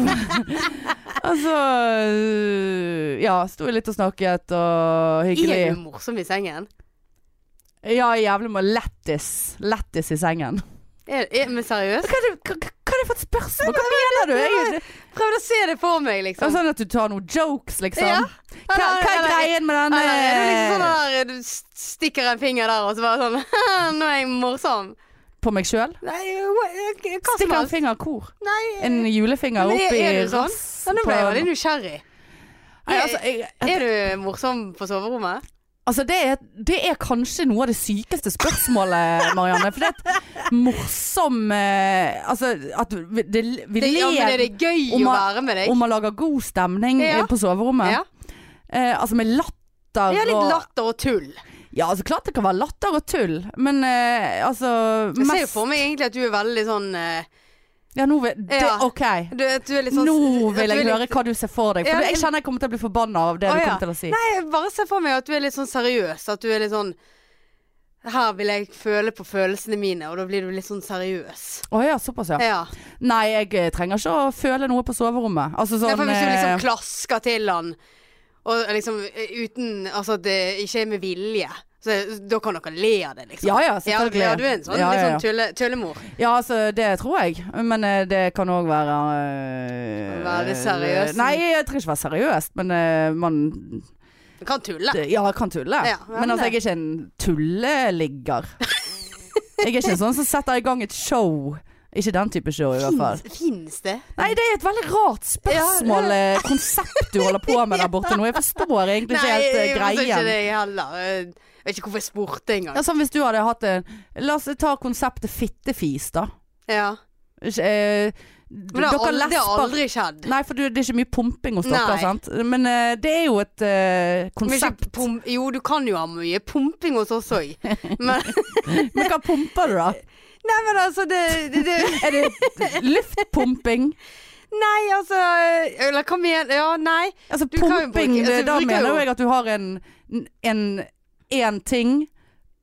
Og så øh, Ja, sto jeg litt og snakket, og hyggelig.
Er du morsom i sengen?
Ja, jævlig med lettis. Lettis i sengen.
Er, er, men seriøst?
Hva er det, hva, hva- hva er det for et spørsmål? Hva mener du? Jeg,
Prøvde å se det for meg,
det er
liksom.
sånn at du tar noen jokes, liksom.
Ja.
Hva, hva er
Eller-
greien med den?
Eller er det liksom
eh,
sånn der du s- stikker en finger der, og så bare sånn Nå er jeg morsom.
På meg sjøl?
Nei, hva- hva som
Stikker en
helst.
finger hvor?
Nei,
En julefinger
men er-
opp i
er det sånn?
rass
nå ble jeg
på-
veldig nysgjerrig.
Nei, altså, jeg,
Er du morsom på soverommet?
altså det, er, det er kanskje noe av det sykeste spørsmålet, Marianne. For det er et morsom eh, Altså at vi, det, vi
Det, ja, men er
ler
det gøy å
Om man-
være med deg?
om man lager god stemning
Ja.
eh, på soverommet.
Ja.
Eh, altså med latter
Ja, litt
og
latter og tull.
Ja, altså klart det kan være latter og tull, men eh, altså
Jeg ser jo
mest-
for meg egentlig at du er veldig sånn eh,
Ja, nå vil det,
Ja.
OK.
du, at du er litt sånn
nå vil
at du er
jeg
litt-
høre hva du ser for deg. For
Ja,
det- jeg
men-
kjenner jeg kommer til å bli forbanna av det
Å,
du
ja.
kommer til å si.
Jeg bare ser for meg at du er litt sånn seriøs. At du er litt sånn Her vil jeg føle på følelsene mine, og da blir du litt sånn seriøs.
Å ja, såpass, ja.
Ja.
Nei, jeg eh, trenger ikke å føle noe på soverommet. Altså
Nei,
sånn
for hvis du
eh,
liksom klasker til han, og liksom eh, uten Altså at det ikke er med vilje, så da kan dere le av det, liksom.
Ja ja,
ja,
selvfølgelig.
ja, du er en sånn,
ja, ja,
litt
ja.
sånn tulle, tullemor.
Ja, altså, det tror jeg. Men eh, det kan òg være eh,
Være seriøs.
Nei, jeg trenger ikke være seriøs, men eh, man
Du kan tulle.
Det- eh, Ja, jeg kan tulle.
ja,
men
men
altså, jeg er
det-
ikke en tulleligger. jeg er ikke sånn som setter i gang et show. Ikke den type show, i hvert fall.
Fins- Fins det?
Nei, det er et veldig rart spørsmål, eh, konsept du holder på med der borte nå. Jeg forstår egentlig ikke helt eh,
jeg forstår altså, ikke
greien.
det heller. Jeg vet ikke hvorfor jeg spurte engang.
Ja, sånn hvis du hadde hatt en La oss ta konseptet fittefis, da.
Ja.
Ikke, eh,
Men det
dere
har aldri, det har
lesber-
aldri skjedd.
Nei, for du, det er ikke mye pumping hos dere,
Nei.
sant? Men eh, det er jo et eh,
Men ikke
konsept.
pump- jo, du kan jo ha mye pumping hos oss òg. Men,
Men hva pumper du, da?
nei, men altså det, det, det
Er det luftpumping?
Nei, altså Eller hva mener Ja, nei.
Altså
Du kan jo
pumping,
bruke- altså,
det-
du
da
bruker
mener
jo-
jo jeg at du har en, en, en ting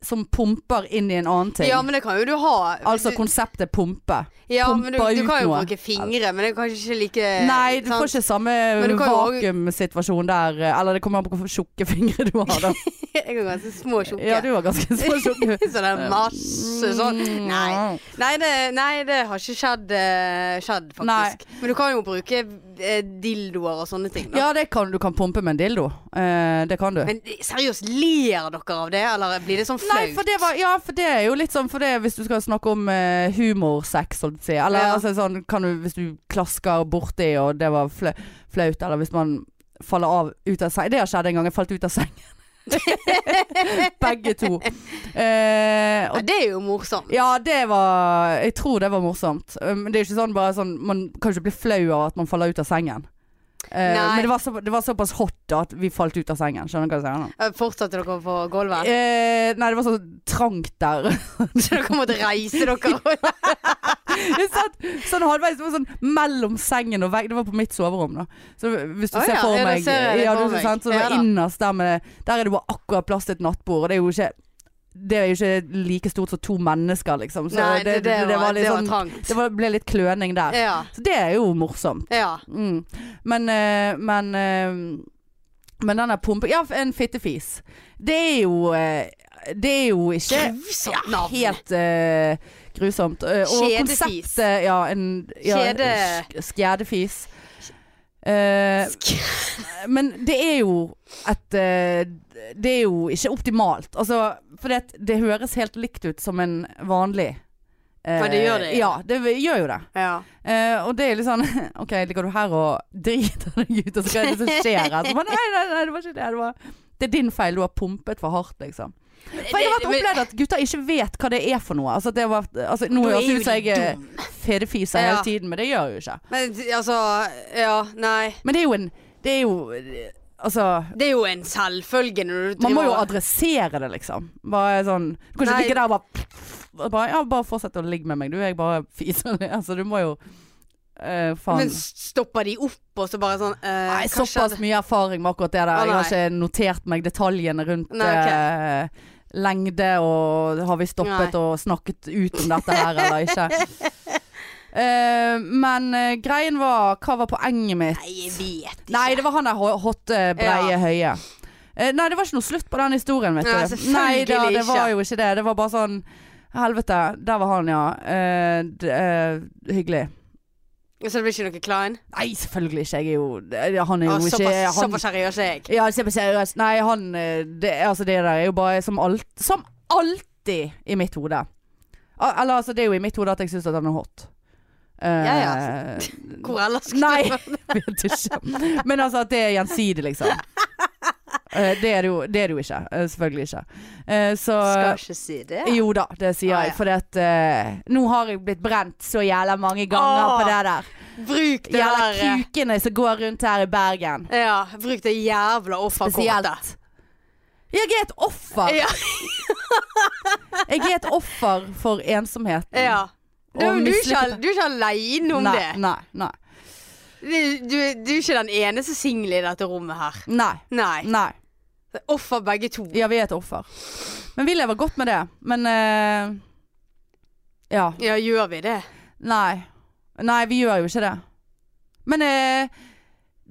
som pumper inn i en annen ting.
Ja, men det kan jo du ha.
altså
Du-
konseptet pumpe.
ja, men du,
pumper
du
ut
kan jo
noe.
bruke fingre, men det er kanskje ikke like
Nei, du
Eh, sant?
får ikke samme
du kan jo også-
vakuumsituasjon der. eh, Eller det kommer an på hvor tjukke fingre du har da.
Jeg er ganske små og tjukke.
Ja, du Mm. har ganske små tjukke.
Så det er masse sånn. Nei. Nei det, nei, det har ikke skjedd, eh, skjedd faktisk. Men du kan jo bruke eh, dildoer og sånne ting. Da.
Ja, det kan du kan pumpe med en dildo. Eh, det kan du.
Men seriøst, ler dere av det, eller blir det sånn flaut?
Nei, for det var, ja, for det er jo litt sånn for det, Hvis du skal snakke om eh, humorsex, holdt jeg på å si. Eller
Ja.
altså, sånn, kan du, hvis du klasker borti og det var fla- flaut, eller hvis man faller av ut av sengen Det har skjedd en gang. Jeg falt ut av sengen. Begge to. Eh,
Ja,
og,
det er jo morsomt.
ja, det var Jeg tror det var morsomt. Eh, Men det er jo ikke sånn bare sånn Man kan jo ikke bli flau av at man faller ut av sengen. Eh,
Nei.
men det var, så, det var såpass hot da at vi falt ut av sengen. Skjønner du hva jeg sier? nå?
Eh, Fortsatte dere på gulvet?
Eh, nei, det var så trangt der.
Så dere måtte reise dere? og-
Jeg satt sånn halvveis det var sånn, mellom sengen og veggen. Det var på mitt soverom, da. Så hvis du
Å
ser
ja,
for
ja, da
meg
ser jeg det
ja,
for
du,
meg.
sant, Så det
Ja
var
da.
innerst der med Der er det bare akkurat plass til et nattbord, og det er jo ikke det er jo ikke like stort som to mennesker, liksom. Så
Nei,
det, det, det, var litt sånn
trangt.
Det var, ble litt kløning der.
Ja.
Så det er jo morsomt.
ja.
Mm. Men, eh, men eh, Men den der pumpen Ja, en fittefis. Det er jo eh, Det er jo ikke
Grusomt
ja,
navn.
helt eh, grusomt. Eh, og
Kjedefis.
konseptet Ja, en ja,
Kjede-
sk- Skjedefis. Eh,
Sk-
men det er jo et eh, Det er jo ikke optimalt. Altså, for det, det høres helt likt ut som en vanlig eh,
Ja, det gjør det,
Ja, det gjør jo det.
Ja.
Eh, og det er litt sånn OK, ligger du her og driter deg ut, og så hva er det som skjer her? Så bare, nei, nei, nei, det var ikke det. Det, var, det er din feil. Du har pumpet for hardt, liksom. For jeg har vært
Men-
opplevd at gutter ikke vet hva det er for noe. Altså, det var, altså, nå
Da er
høres det
jo
ut som
de
jeg eh. er
dum.
fedefiser
Ja.
hele tiden, men det gjør jeg jo ikke.
Men altså Ja, nei.
Men det er jo en Det er jo Altså
Det er jo en selvfølge når du
man må jo
driver-
adressere det, liksom. Bare sånn Du kan ikke
Nei.
ligge der og bare, og bare Ja, bare fortsett å ligge med meg, du. Jeg bare fiser. Altså, du må jo eh, Faen.
Men stopper de opp, og så bare sånn eh,
Nei,
hva
såpass
skjedde?
mye erfaring med akkurat det der.
Å,
jeg har
nei.
ikke notert meg detaljene rundt
Nei, ok.
eh, lengde og har vi stoppet
Nei.
og snakket ut om dette her eller ikke. Eh, men eh, greien var Hva var poenget mitt?
Nei, jeg vet ikke.
Nei, det var han der ho- hotte, breie,
Ja.
høye. Eh, nei, det var ikke noe slutt på den historien, vet du.
Nei, selvfølgelig
Nei, da, det var
ikke.
jo ikke det. Det var bare sånn Helvete, der var han, ja. Eh, d eh, hyggelig.
Så det blir ikke noe klein?
Nei, selvfølgelig ikke. Jeg er jo det- Han er jo
Ah,
ikke
såpass,
han,
såpass seriøs er jeg.
Ja, se på seriøst. Nei, han eh, det, Altså, det der er jo bare som, alt, som alltid i mitt hode. Al- Eller altså, det er jo i mitt hode at jeg syns at han er hot. Eh,
Ja, ja. Hvor ellers skulle
Nei,
det være?
vet ikke. Men altså at det er gjensidig, liksom. Eh, det, er det, jo, det er det jo ikke. Eh, selvfølgelig ikke. Eh, så
Skal ikke si det.
Jo da, det sier
Ah,
jeg.
ja.
For at, eh, nå har jeg blitt brent så jævla mange ganger
Åh,
på det der.
Bruk det
Jævla
der eh,
kukene som går rundt her i Bergen.
Ja, bruk det jævla offerkortet.
Spesielt. Jeg er et offer.
Ja,
Jeg er et offer for ensomheten.
ja.
Og
Du, du, er ikke,
mislykket-
du er ikke aleine om
nei,
det.
Nei, nei.
Du, du, du er ikke den eneste single i dette rommet her.
Nei.
Nei.
nei.
Offer begge to.
Ja, vi er et offer. Men vi lever godt med det. Men eh, Ja.
Ja, gjør vi det?
Nei. Nei, vi gjør jo ikke det. Men eh,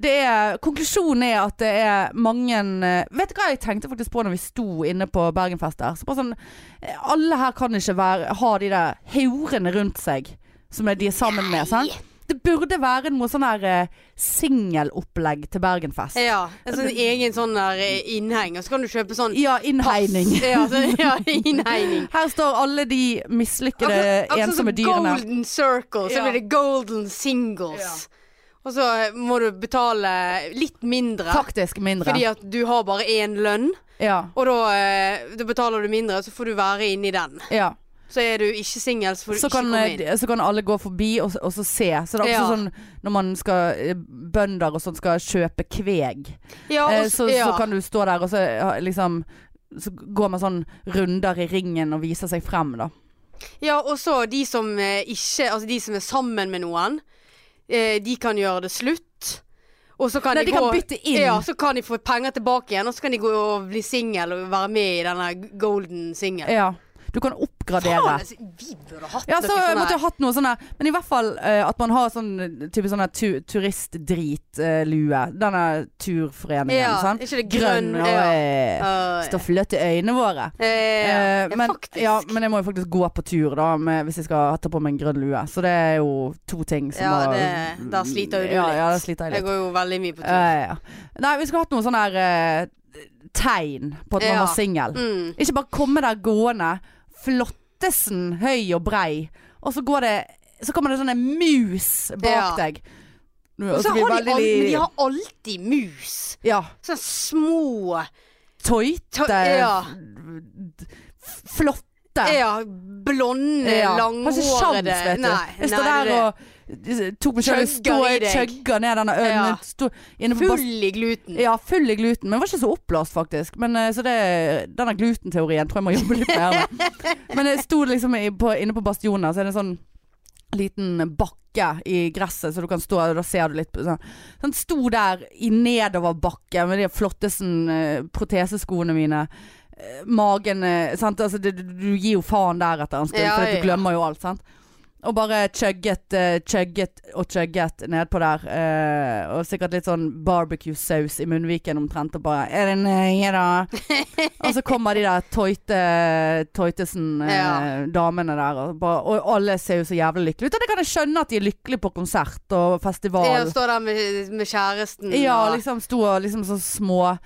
det er Konklusjonen er at det er mange eh, Vet du hva jeg tenkte faktisk på når vi sto inne på Bergenfest der? Så bare sånn eh, Alle her kan ikke være, ha de der horene rundt seg som er de er sammen med. Sant? Det burde være noe sånn her eh, singelopplegg til Bergenfest.
Ja. En sånn egen sånn der eh, innheng, og så kan du kjøpe sånn
Ja, innhegning.
pass. Ja, så, ja innhegning.
Her står alle de mislykkede,
Akkurat som
ensomme dyrene.
Golden Circle, så
Ja.
blir det Golden Singles. Og så eh, må du betale litt mindre,
Faktisk mindre.
fordi at du har bare én lønn.
Ja.
Og da, eh, da betaler du mindre, så får du være inni den.
ja.
Så er du ikke singel, så får du
så
ikke
kan,
komme inn.
eh, så kan alle gå forbi og, og så se. Så det er også
Ja.
sånn når man skal eh, bønder og sånn skal kjøpe kveg,
Ja, og
eh,
s-
så,
ja.
så kan du stå der og så eh, liksom så går man sånn runder i ringen og viser seg frem, da.
ja, og så de som eh, ikke Altså de som er sammen med noen, eh, de kan gjøre det slutt. Og så kan
Nei, de kan
gå-
bytte inn.
Ja, så kan de få penger tilbake igjen, og så kan de gå og bli singel og være med i denne golden singel.
Ja. Du kan oppgradere.
Faen, altså, vi burde hatt
Ja, så
noe sånn
måtte
her.
jeg hatt noe sånn her. Men i hvert fall eh, at man har sånn eh, type sånn her tu turistdritlue. Denne turforeningen,
Ja,
sant.
ikke det
Grønn
grønn,
og
ja.
eh,
Øh,
står fløtt i øynene våre.
eh, ja.
Eh,
Ja,
men,
faktisk.
ja, men jeg må jo faktisk gå på tur da med, hvis jeg skal ta på meg en grønn lue. Så det er jo to ting som
Ja,
har-
det- da sliter jo du
ja,
litt.
Ja, da sliter jeg
Jeg
litt. Eh.
går jo veldig mye på tur.
Ja, ja, ja. Nei, vi skulle hatt noen sånne her eh, tegn på at man
Ja.
var singel.
Mm.
Ikke bare komme der gående, flottesen, høy og brei, og så går det Så kommer det sånne mus bak
Ja.
deg. Nå,
Og så
vi
har de,
veldig
al men
li-
de har alltid mus.
Ja.
Sånne små
Tøyte,
ta, ja,
f- flotte
ja, blonde,
Ja.
eh, langhårede
Har ikke sjans, vet du.
Nei,
jeg står
nei, det
der
er
og eh, tok meg selv og stå
Chugger i
og
deg.
chugger ned denne ølen.
Ja.
men Stå, inne på bas-
Full i gluten.
ja, full i gluten, men jeg var ikke så oppblåst faktisk. Men, eh, så det, denne glutenteorien tror jeg må jobbe litt mer med. Men jeg sto liksom i, på, inne på Bastionen, her, så er det en sånn liten bakke i gresset, så du kan stå og da ser du litt på sånn. Så han sto der i nedoverbakke med de flotteste eh, proteseskoene mine. eh, magen eh, sant? Altså, det, du gir jo faen der etter en stund,
Ja,
for at
ja.
du glemmer jo alt. Sant? Og bare chugget, eh, chugget og chugget nedpå der. eh, og sikkert litt sånn barbecue-saus i munnviken omtrent. Og bare Er det nøye, da? og så kommer de der tøyte,
Ja.
Tøytesen-damene der. Og, bare, og alle ser jo så jævlig lykkelige ut. Og det kan jeg skjønne at de er lykkelige på konsert og festival.
Jeg står der med, med kjæresten
Ja,
og
liksom sto og liksom sånn små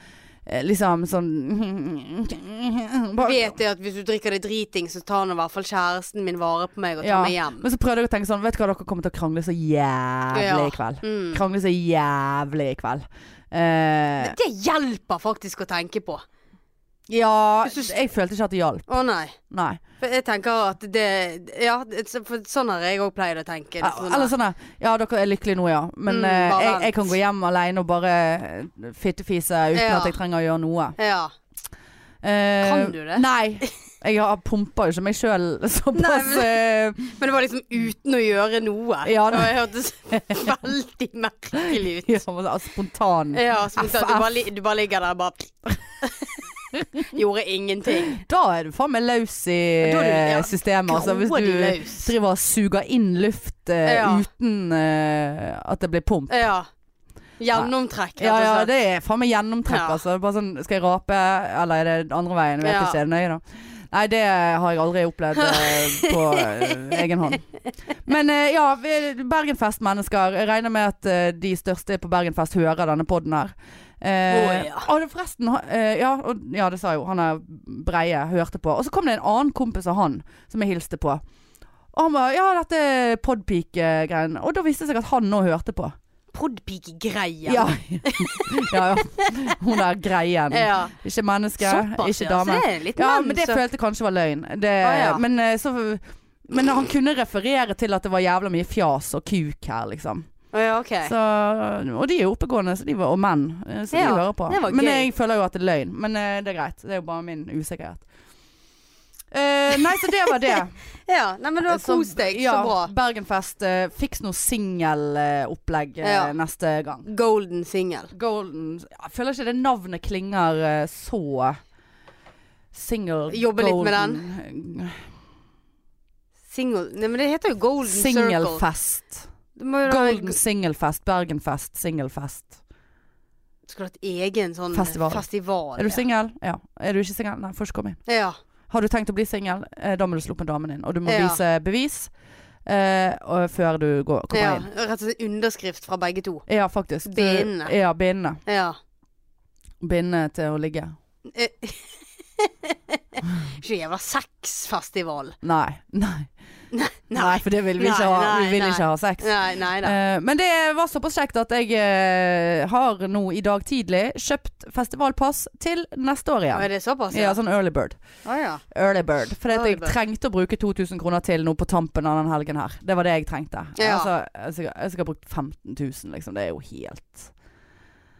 eh, Liksom sånn Bare-
vet jeg at hvis du drikker deg driting, så tar nå i hvert fall kjæresten min vare på meg og tar
Ja,
meg hjem.
Men så prøvde jeg å tenke sånn Vet du hva, dere kommer til å krangle så jævlig
Ja.
i kveld.
Mm.
Krangle så jævlig i kveld. Eh,
Men Det hjelper faktisk å tenke på.
ja
Hvis du s-
Jeg følte ikke at det hjalp.
Å nei.
Nei.
For jeg tenker at det Ja, det- for sånn har jeg òg pleid å tenke. Det er sånn
Eller sånn der, Ja, dere er lykkelige nå, ja. Men
Mm,
eh,
bare
jeg,
vent.
jeg kan gå hjem alene og bare eh, fittefise uten
Ja.
at jeg trenger å gjøre noe.
der. Ja.
Eh,
Kan du det?
Nei. Jeg har pumpa jo ikke meg sjøl såpass eh,
Men det var liksom uten å gjøre noe.
Ja,
og
det-
jeg hørtes veldig merkelig ut.
ja, altså, spontan.
Ja, som sagt, du
FF.
bare, li- du bare ligger der og bare Gjorde ingenting.
Da er du faen meg løs i
Da er du- ja,
systemet. Altså, hvis
grådig
du
løs.
driver og suger inn luft eh,
Ja.
uten eh, at det blir pump.
Ja. Gjennomtrekk, altså. rett
Ja, ja,
og slett.
det er faen meg gjennomtrekk,
Ja.
altså. Bare sånn, skal jeg rape, eller er det den andre veien? Jeg vet
Ja.
ikke, er det nøye da? Nei, det har jeg aldri opplevd eh, på eh, egen hånd. Men eh, ja, vi- Bergenfest-mennesker. Jeg regner med at eh, de største på Bergenfest hører denne podden her. Eh,
Å, ja.
og det forresten, ha- eh, ja, og, ja, det sa jeg jo. Han er breie, hørte på. Og så kom det en annen kompis av han, som jeg hilste på. Og han var, ja, dette podpeak-greien. Og da viste det seg at han nå hørte på.
Podpike-greia.
Ja. ja, ja. Hun der greien.
ja.
Ikke menneske,
Såpass,
ikke
Så
dame.
det er litt
Ja,
menn
men det
som-
følte jeg kanskje var løgn. Det,
Ah, ja.
men, eh, så, men han kunne referere til at det var jævla mye fjas og kuk her, liksom.
Å, ja, ok.
Så, og de er oppegående, så de var, og menn, eh, så
Ja,
de hører på.
det var
Men
gøy.
jeg føler jo at det er løgn. Men eh, det er greit. Det er jo bare min usikkerhet. Eh, nei, så det var det.
Ja, nei, men du har
Så-
kost deg.
ja,
Så bra.
Bergenfest. eh, fiks noe singelopplegg uh,
Ja.
neste gang.
Golden single.
Golden Jeg føler ikke det navnet klinger eh, så Single
Jobbe litt med
den.
Single Nei, men det heter jo Golden Circle.
Singelfest.
Det må jo da-
Golden singelfest. Bergenfest. Singelfest.
Skulle hatt egen sånn
Festival.
festival.
Er du singel? Ja. Er du ikke singel? Nei, får ikke komme inn.
Ja.
Har du tenkt å bli singel, eh, da må du slå på damen din. Og du må
Ja.
vise bevis eh, og før du går, kommer
ja.
inn.
Rett og slett underskrift fra begge to.
Ja, faktisk. Du-
Bindende.
Ja, bindende.
Ja.
Bindende til å ligge.
Ikke jævla sexfestival.
Nei. Nei,
Nei.
nei for det vil vi
Nei,
ikke ha.
nei,
Vi vil
nei.
ikke ha sex.
Nei, nei da.
Eh, men det var såpass kjekt at jeg eh, har nå i dag tidlig kjøpt festivalpass til neste år
Er
igjen.
det såpass?
Ja, sånn early bird.
Å, ja.
Early bird. For
Early
jeg
bird.
trengte å bruke 2000 kroner til nå på tampen av den helgen her. Det var det jeg trengte.
Ja.
Altså, jeg skal- jeg skal ha brukt 15 000, liksom. Det er jo helt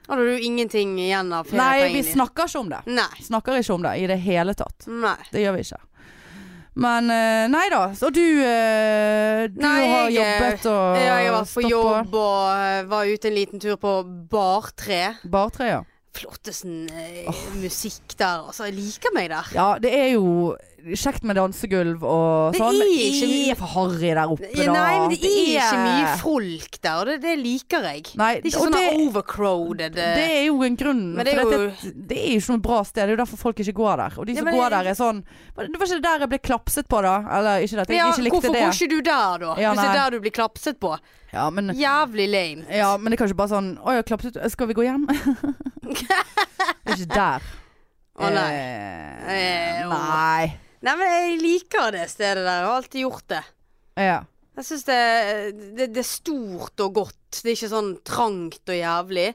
Hadde du ingenting igjen av
Nei, vi
feriepengene?
snakker ikke om det.
Nei.
Snakker ikke om det i det hele tatt.
Nei.
Det gjør vi ikke. Men eh, nei da. Så du eh, Du
Nei,
har
jeg, eh,
jobbet og
Jeg har vært på
stått
jobb og eh, var ute en liten tur på Bartre.
Bartre, ja.
Flottesen eh, musikk der, altså. Jeg liker meg der.
Ja, det er jo kjekt med dansegulv og
Det
sånn.
er ikke mye-
for harry der oppe, da.
Nei, men det er ikke mye folk der, og det, det liker jeg.
Nei,
Det er ikke
og
sånn
det,
overcrowded eh,
det er jo en grunn.
Men det er
for dette, det er jo ikke noe bra sted. Det er jo derfor folk ikke går der. Og de
Ja,
som
men-
går der, er sånn Var Det var ikke det der jeg ble klapset på, da? Eller ikke det, at jeg
ja,
ikke likte
hvorfor
det.
går ikke du der, da?
Ja,
Hvis det er
nei.
der du blir klapset på.
Ja, men
Jævlig lame.
ja, men det er kanskje bare sånn Å, jeg har klapset Skal vi gå hjem? Det er ikke der.
Å, nei.
Eh,
Eh, å.
nei.
Nei, men jeg liker det stedet der. Jeg har alltid gjort det.
Ja.
Jeg syns det, det, det er stort og godt. Det er ikke sånn trangt og jævlig.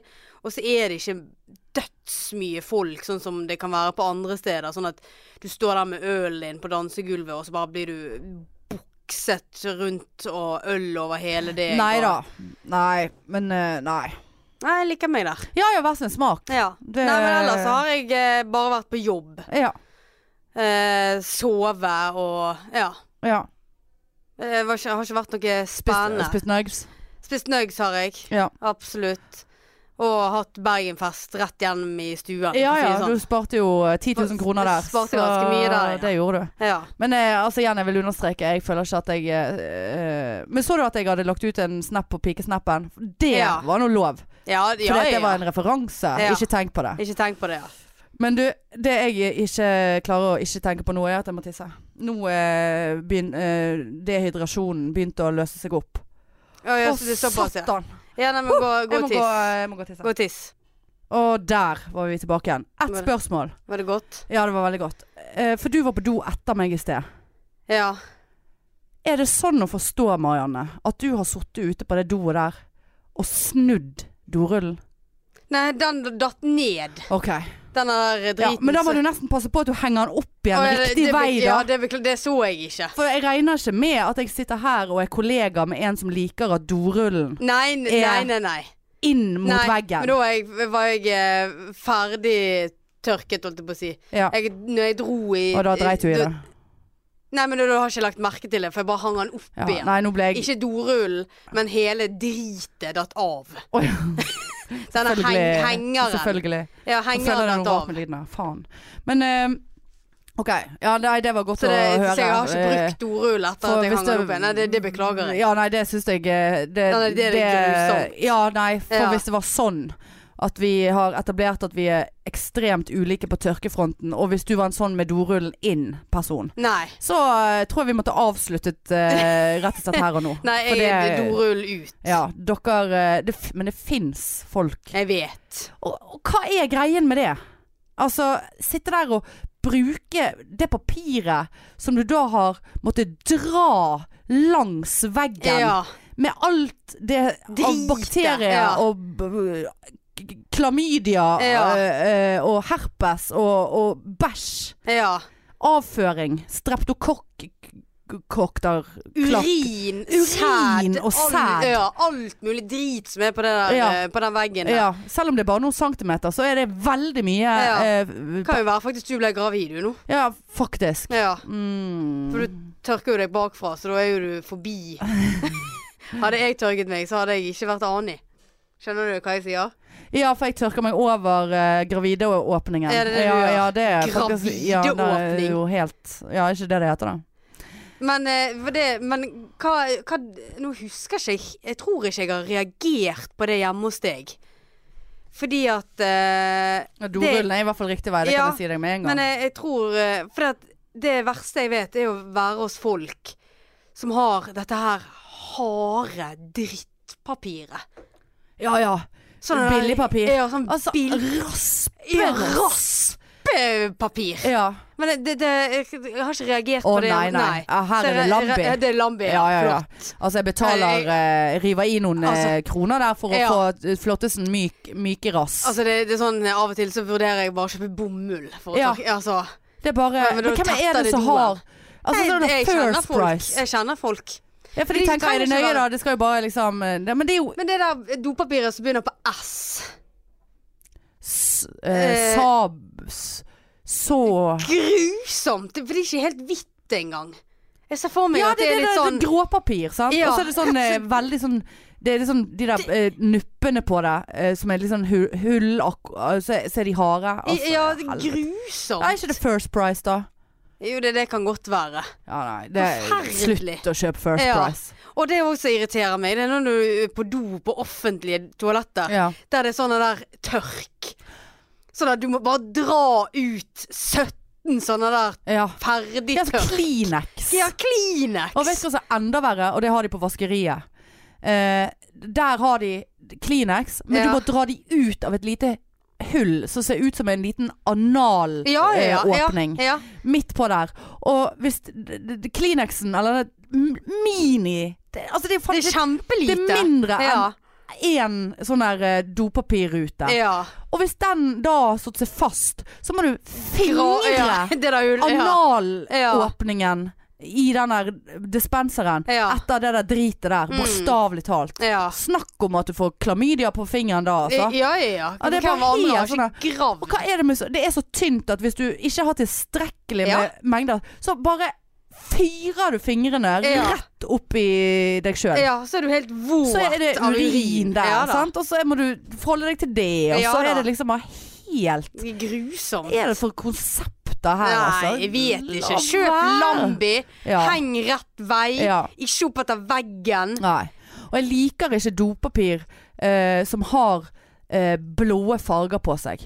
Og så er det ikke dødsmye folk, sånn som det kan være på andre steder. Sånn at du står der med ølen din på dansegulvet, og så bare blir du bukset rundt og øl over hele deg.
Nei da.
og-
Nei. Men eh, nei.
Nei, jeg liker meg der.
Ja, ja, hver sin smak.
Ja.
Det-
Nei, men ellers så har jeg eh, bare vært på jobb.
Ja.
Eh, sove og ja.
ja.
Jeg var ikke, har ikke vært noe
Spist,
spennende.
spist nugs.
Spist nugs har jeg.
Ja.
Absolutt. Og hatt Bergenfest rett gjennom i stuen.
Ja
for å si
ja,
det sånn.
du sparte jo eh, 10 000 kroner der.
Sparte ganske mye der, ja.
det gjorde du.
sånn. ja.
Men eh, altså, igjen, jeg vil understreke, jeg føler ikke at jeg eh, Men så du at jeg hadde lagt ut en snap på pikesnappen? Det
Ja.
var nå lov.
Ja, ja,
Fordi at
ja,
det var
ja.
en referanse.
Ja.
Ikke tenk på det.
Ikke tenk på det, ja.
Men du, det jeg ikke klarer å ikke tenke på nå, er at jeg må tisse. Nå eh, begyn- eh, dehydrasjonen begynte å løse seg opp.
Å, ja,
Å,
så det er såpass, ja.
satan!
Ja, nei, men gå,
Jeg må
gå og
gå,
tiss.
jeg må gå og tisse.
Gå og tiss.
Og der var vi tilbake igjen. Ett
Var det-
spørsmål.
Var det godt?
Ja, det var veldig godt. Eh, for du var på do etter meg i sted.
Ja.
Er det sånn å forstå, Marianne, at du har sittet ute på det doet der og snudd dorullen?
Nei, den datt ned.
OK.
Den der
Ja,
driten.
men da må
så-
du nesten passe på at du henger den opp
Å,
igjen
ja, det-
riktig
det,
vei, da.
Ja, det, bekl- det så jeg ikke.
For jeg regner ikke med at jeg sitter her og er kollega med en som liker at dorullen
Nei, n-
Ja.
nei, nei. nei.
inn mot
nei. Men
veggen.
da var jeg, var jeg eh, ferdig tørket, holdt jeg på å si.
ja.
Jeg, når jeg dro i
Og da dreit du i det.
Nei, men da, da har jeg ikke lagt merke til det, for jeg bare hang den opp
Ja.
igjen.
Nei, nå ble jeg
Ikke dorullen, men hele dritet datt av.
Oi,
Denne heng,
selvfølgelig-
hengeren.
Selvfølgelig.
Ja,
Så føler jeg
hengeren
noe
datt
rart
av.
med lyden her. Faen. Men eh, OK. Ja, nei, det var godt
Så, det,
å høre.
så jeg har ikke
Eh,
brukt dorull etter
for
at jeg
hvis
hang den
det-
opp igjen. Nei, det, det beklager jeg.
Ja, nei, det syns jeg eh, det,
Nei, nei, det er grusomt.
Ja, nei, for
Ja.
hvis det var sånn at vi har etablert at vi er ekstremt ulike på tørkefronten, og hvis du var en sånn med dorullen inn-person,
Nei.
Så eh, tror jeg vi måtte avsluttet eh, rett og slett her og nå.
Nei,
For
jeg
det-
dorull ut.
Ja, dere eh, det, f- Men det fins folk.
Jeg vet.
Og, og hva er greien med det? Altså, sitte der og bruke det papiret som du da har måttet dra langs veggen
Ja.
med alt det av
Dritet,
bakterier
ja.
og b- b- k- klamydia
Ja.
eh, eh, og herpes og, og bæsj.
ja.
Avføring. Streptokokter.
Urin,
Urin
sæd,
og
all-
sæd.
Ja, alt mulig drit som er på, det der,
Ja.
eh, på den veggen. der.
Ja, selv om det er bare noen centimeter, så er det veldig mye.
Ja.
eh,
Kan jo være faktisk du ble gravid du nå.
ja faktisk.
Ja.
Mm.
For du tørker jo deg bakfra, så da er jo du forbi. hadde jeg tørket meg, så hadde jeg ikke vært Ani. Skjønner du hva jeg sier?
Ja, for jeg tørker meg over eh, gravideåpningen.
Er det det du
ja,
gjør?
ja, det er faktisk- Ja, det er
Gravideåpning.
jo helt Ja, er ikke det det heter, da?
Men, eh, for det, men hva, hva Nå husker ikke jeg Jeg tror ikke jeg har reagert på det hjemme hos deg. Fordi at eh,
Ja,
det-
Dorullen er i hvert fall riktig vei, det
Ja,
kan jeg si deg med en gang.
Men jeg, jeg tror eh, For det, at det verste jeg vet, er å være hos folk som har dette her harde drittpapiret.
ja ja.
Sånn
Billigpapir.
Ja, sånn
Altså,
bill- Ja,
raspeross!
raspepapir.
Ja.
Men det, det, det, jeg har ikke reagert
Å
på det.
nei, nei. Ja, her
Så
er det
jeg-
Lambi.
Ja, det er Lambi.
Ja, ja, ja.
Flott.
Altså, jeg betaler eh, River i noen eh,
Altså-
kroner der for å
Ja.
få flottesen myk, myke rass.
Altså, det, det er sånn, eh, Av og til så vurderer jeg bare å kjøpe bomull. For å
Ja.
ta, altså,
Det er bare
Ja, men
Men,
da
hvem
tetter
er det
det
som
doen.
har Altså, så er det
jeg, jeg, kjenner
First
folk,
Price.
jeg kjenner folk.
Ja, for
Men
de
det
tenker
kan
er det
ikke
nøye,
være-
da? Det skal jo bare liksom eh, det, Men det er jo
Men det der dopapiret som begynner på S
s, eh,
Eh,
Saab s- Så
Grusomt! For det er ikke helt hvitt engang. Jeg ser for meg
Ja,
at
det,
det,
er det,
er litt
der
sånn
gråpapir, sant?
Ja.
Og så er det sånn eh, veldig sånn Det er litt sånn de der eh, nuppene på det eh, som er litt sånn hull, hull ak- og så er- så er de harde. Altså,
Ja,
helvete.
grusomt.
Nei, er ikke det First Price, da?
Jo, det, det kan godt være.
Ja, nei. Det er
Forferdelig.
slutt å kjøpe First
Ja.
Price.
Og det også irriterer meg, det er når du er på do på offentlige toaletter,
Ja.
der det er sånne der tørk. Sånn at du må bare dra ut 17 sånne der
ja. Det er sånn
ferdigtørk.
Kleenex.
De har Kleenex!
Og vet du hva som er enda verre, og det har de på vaskeriet. Eh, der har de Kleenex, men du
Ja.
må dra de ut av et lite hull som ser ut som en liten analåpning
ja, ja, ja, ja,
Eh, åpning
ja.
midt på der. Og hvis d- d- d- Kleenexen, eller det m- mini det, Altså det er
Det er
faktisk det
kjempelite.
er mindre
ja.
enn én sånn der eh, dopapirrute.
ja.
Og hvis den da har satt seg fast, så må du fingre
Gra- ja. Det der jo ja.
analåpningen i den der dispenseren
Ja. Mm.
etter det der dritet der, bokstavelig talt.
Ja.
Snakk om at du får klamydia på fingeren da,
Ja,
altså.
Eh, ja, ja.
Ja, det er
Hvem
bare
andre har
helt sånn
ikke gravd.
Og hva er det med så Det er så tynt at hvis du ikke har tilstrekkelig med
Ja.
mengder, så bare firer du fingrene
Ja.
rett opp i deg sjøl.
Ja, så er du helt våt
Så er det
av
urin der,
Ja da.
sant? og så må du forholde deg til det. Og
Ja
så
da.
er det liksom bare helt
Det er Grusomt.
Hva er det for konsepter her, altså?
Nei, jeg vet ikke.
La
Kjøp
være.
Lambi.
Ja.
Heng rett vei.
Ja.
Ikke opp etter veggen.
Nei. Og jeg liker ikke dopapir eh, som har eh, blå farger på seg.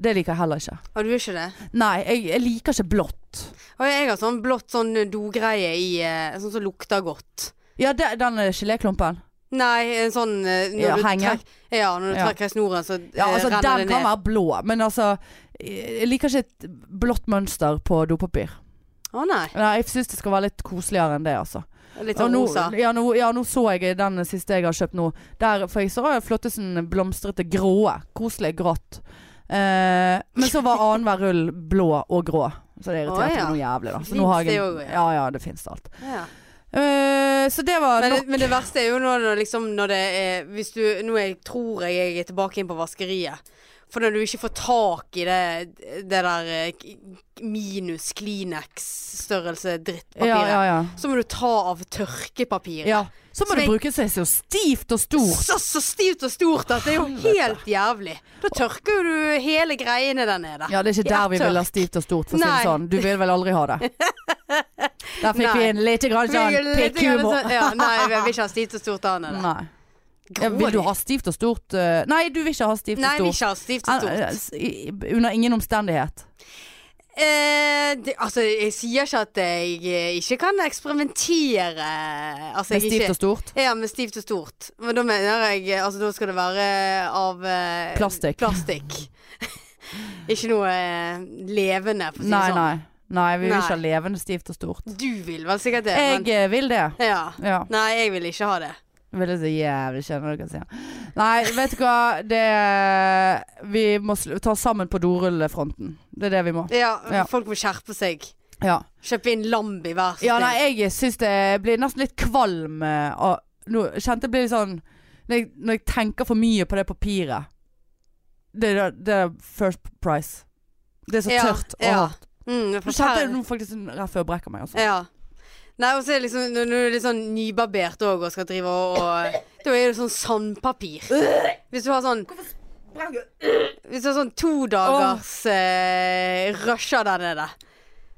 Det liker jeg heller ikke.
Å, du gjør ikke det?
Nei, jeg, jeg liker ikke blått.
Og jeg har sånn blått sånn dogreie i eh, Sånn som lukter godt.
Ja, det, den eh, geléklumpen.
Nei, en sånn eh, når
Ja,
du
henger.
trekk- Ja, når du
Ja.
trekker i snoren, så eh,
Ja, altså, den kan
renner det ned.
være blå, men altså Jeg jeg liker ikke et blått mønster på dopapir.
Å nei.
Nei, jeg syns det skal være litt koseligere enn det, altså.
Litt
Og
sånn
nå,
rosa.
ja, nå, ja, nå så jeg den siste jeg har kjøpt nå. Der, for jeg så «Å, flottesen blomstrete gråe. Koselig grått. Eh, men så var annenhver rull blå og grå. Så det irriterte
Å,
meg
ja.
noe jævlig. Da. Så
Finns
nå har jeg,
det også, ja.
ja, ja, det fins alt.
Ja.
Eh, så det var
Men,
nok.
det- men det verste er jo når, når, liksom, når det er Hvis du Nå er jeg, tror jeg jeg er tilbake inn på vaskeriet. For når du ikke får tak i det, det der eh, k- minus Kleenex-størrelse drittpapiret,
Ja, ja, ja.
så må du ta av tørkepapiret.
ja. Så
Så
må
jeg-
det brukes så stivt og stort.
Så, så stivt og stort at det er jo
Helvete.
helt jævlig. Da tørker jo du hele greiene der nede.
Ja, det er ikke
Ja,
der vi vil ha
tørk.
stivt og stort, for å si
Nei.
det sånn. Du vil vel aldri ha det. Der fikk vi
Nei.
en lite grann
Vi
sånn
gjør litt grann
pikkhumor.
sånn- Ja, nei, jeg vil ikke ha stivt og stort der nede.
Nei. Ja, vil du ha stivt og stort? eh, Nei, du vil ikke ha stivt og
Nei, jeg vil
stort.
ikke ha stivt og stort.
Eh, s- i- Under ingen omstendighet.
Eh, det, altså, jeg sier ikke at jeg eh, ikke kan eksperimentere. Altså,
Med
jeg
stivt og
ikke
stort.
ja, med stivt og stort. Men da mener jeg eh, Altså, da skal det være av eh,
Plastikk.
plastikk. ikke noe eh, levende, for å si det
Nei,
sånn.
nei. Nei, vi vil
Nei.
ikke ha levende stivt og stort.
Du vil vel sikkert det,
Jeg eh, vil det.
men ja.
Ja.
Nei, jeg vil ikke ha det.
Vil jeg så jævlig kjenne dere sier. Nei, vet du hva. Det Vi må sl- ta sammen på dorullefronten. Det er det vi må.
Ja,
Ja.
folk må skjerpe seg.
Ja.
Kjøpe inn Lambi, vær så
Ja,
snill.
nei, jeg syns det blir nesten litt kvalm eh, av Nå kjente jeg blir litt sånn når jeg, når jeg tenker for mye på det papiret. Det, er- det er first price. Det er så
Ja,
tørt og
ja.
hardt.
Mm, det er
Nå kjente jeg
forferdelig.
nå faktisk sånn rett før jeg brekker meg. Også.
Ja. Nei, og så er det liksom Når du er litt sånn nybarbert òg og skal drive og, og Da er det sånn sandpapir. Hvis du har sånn Hvis du har sånn to dagers eh, rusher der nede.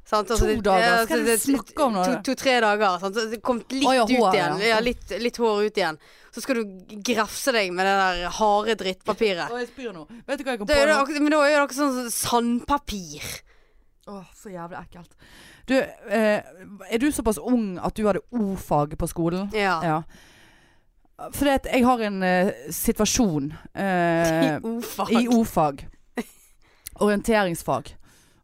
Sant? Altså,
To
det-
dager?
ja,
Skal
altså,
du
det-
snakke om noe?
to- To-tre dager. Sant? Så det kom litt
Å, ja,
ut
hår,
igjen.
ja.
Ja, litt, litt hår ut igjen. Så skal du grafse deg med det der harde drittpapiret.
Å, jeg spyr nå. Vet du hva jeg kom
Da
på
er det,
nå?
akkurat- men da er det akkurat sånn som sandpapir.
Å, så jævlig ekkelt. Du, eh, er du såpass ung at du hadde O-fag på skolen?
Ja.
Ja. Fordi at jeg har en eh, situasjon eh,
I ofag.
I O-fag. Orienteringsfag.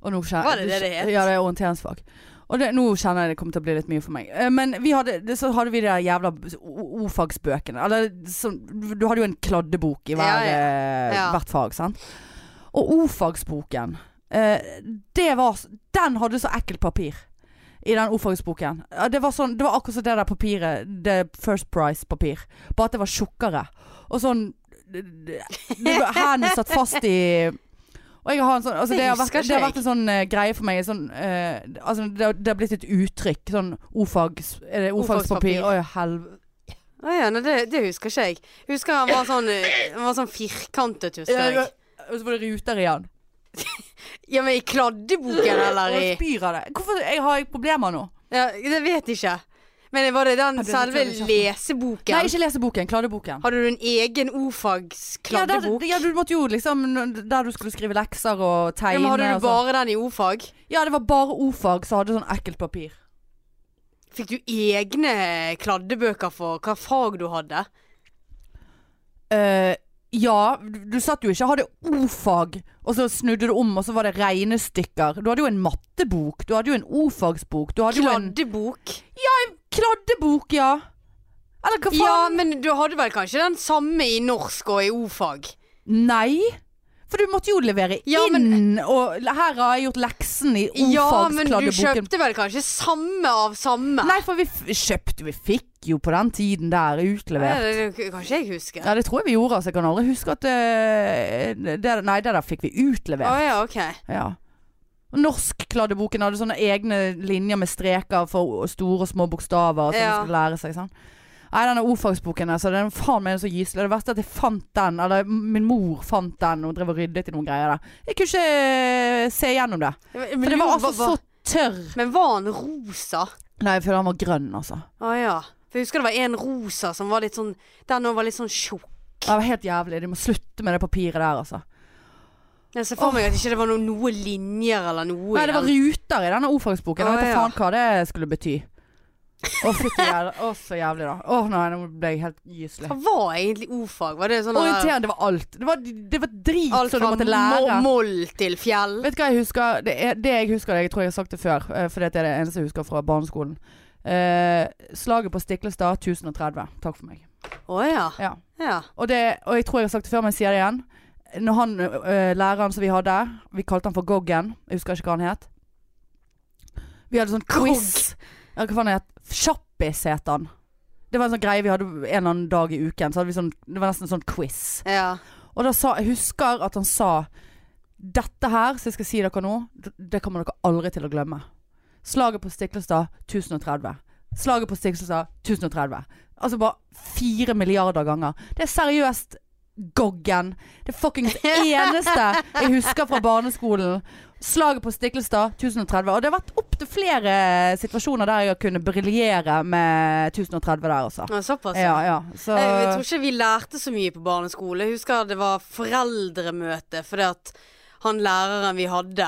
Og nå kjenner,
Var det det det het?
Ja, det er orienteringsfag. Og det, nå kjenner jeg det kommer til å bli litt mye for meg. Eh, Men vi hadde, det, så hadde vi de der jævla o- O-fagsbøkene. Eller sånn Du hadde jo en kladdebok i hver,
Ja, ja.
eh,
Ja.
hvert fag, sant. Og O-fagsboken, eh, det var s- Den hadde så ekkelt papir. I den O-fagsboken. Ja, Det var, sånn, det var akkurat som det der papiret. Det First Price-papir. Bare at det var tjukkere. Og sånn d- d- d- Hendene satt fast i Og jeg har en sånn altså, det, har vært,
Det husker ikke
det har
jeg.
vært en sånn eh, greie for meg. en Sånn, eh, altså, det, har- det har blitt et uttrykk. Sånn ofags... Er det ordfagspapir?
Ordfagspapir.
Å ja, helvete.
Å ja, nei, det, det husker ikke jeg. Jeg Husker han var sånn, eh, han var sånn firkantet, husker jeg.
Og så var det ruter igjen.
Ja, men i kladdeboken
Og
eller i
jeg spyr av det. Hvorfor jeg har jeg problemer nå?
ja, Det vet jeg ikke. Men var det den
det tror
selve
jeg ikke. Nei,
leseboken?
ikke leseboken. Kladdeboken.
Hadde du en egen
Ja, der,
ofagskladdebok?
ja, du måtte jo liksom Der du skulle skrive lekser og
Ja,
tegne.
men hadde
og
du
sånn.
bare den i ofag?
Ja, det var bare ordfag som hadde sånn ekkelt papir.
Fikk du egne kladdebøker for hva fag du hadde?
Eh, ja, du, du satt jo ikke og hadde ordfag, og så snudde du om, og så var det regnestykker. Du hadde jo en mattebok, du hadde jo en ordfagsbok, du hadde jo en
Kladdebok?
kladdebok, ja. Eller hva faen?
Ja, men du hadde vel kanskje den samme i norsk og i ofag?
Nei. For du måtte jo levere
Ja,
inn, og her har jeg gjort leksen i
Ja, men du
ordfagskladdeboken.
kjøpte vel kanskje samme av samme?
Nei, for vi f kjøpte, vi fikk jo på den tiden der utlevert.
Ja, det- det kan ikke jeg huske.
Ja, det tror jeg vi gjorde, altså. Jeg kan aldri huske at eh, det, Nei, det der fikk vi
Å
utlevert.
ja, OK.
Ja. Norskkladdeboken hadde sånne egne linjer med streker for o- store og små bokstaver. Som
Ja.
man skulle lære seg sånn. Nei, denne ordfagsboken altså, den er faen meg så gyselig. Det verste er at jeg fant den, eller m- min mor fant den og drev og ryddet i noen greier der. Jeg kunne ikke eh, se gjennom det. For det var altså så tørr.
Men var han rosa?
Nei, jeg føler han var grønn, altså.
Å ja. For jeg husker det var en rosa som var litt sånn Den òg var litt sånn tjukk.
Det var helt jævlig. De må slutte med det papiret der, altså.
Jeg ser for meg at ikke det var noe, noe linjer eller noe.
Nei,
i
det var
den.
ruter i denne ordfagsboken. Jeg
Å,
vet da
ja.
faen hva det skulle bety. Å, fytti jævla. Å, så jævlig, da. Å nei, nå ble jeg helt gyselig.
Hva var egentlig ordfag? Var det sånn der-
Orientering, det var alt. Det var, det var drit
Alt
som du
fra
måtte lære.
mo- moll til fjell.
Vet du hva jeg husker? Det, er, det jeg husker, jeg tror jeg har sagt det før, eh, for dette er det eneste jeg husker fra barneskolen. Eh, slaget på Stiklestad 1030. Takk for meg.
Å ja.
Ja.
ja.
Og, det, og jeg tror jeg har sagt det før, men jeg sier det igjen. Når han, øh, læreren som vi hadde, vi kalte han for Goggen. Jeg husker ikke hva han het. Vi hadde sånn
Gogg.
quiz. Ja, hva faen het Kjappis het han. Det var en sånn greie vi hadde en eller annen dag i uken. Så hadde vi sånn, det var nesten sånn quiz.
ja.
Og da sa, jeg husker at han sa Dette her som jeg skal si dere nå d- Det kommer dere aldri til å glemme Slaget på Stiklestad 1030 Slaget på Stiklestad 1030 Altså bare 4 milliarder ganger Det er seriøst Goggen Det er fucking eneste Jeg husker fra barneskolen Slaget på Stiklestad 1030 Og det har vært opp til flere situasjoner Der jeg kunne briljere med 1030 der altså
Ja, Såpass.
Ja, ja Så
Jeg, jeg tror ikke vi lærte så mye på barneskole. Jeg husker det var foreldremøte, fordi at han læreren vi hadde,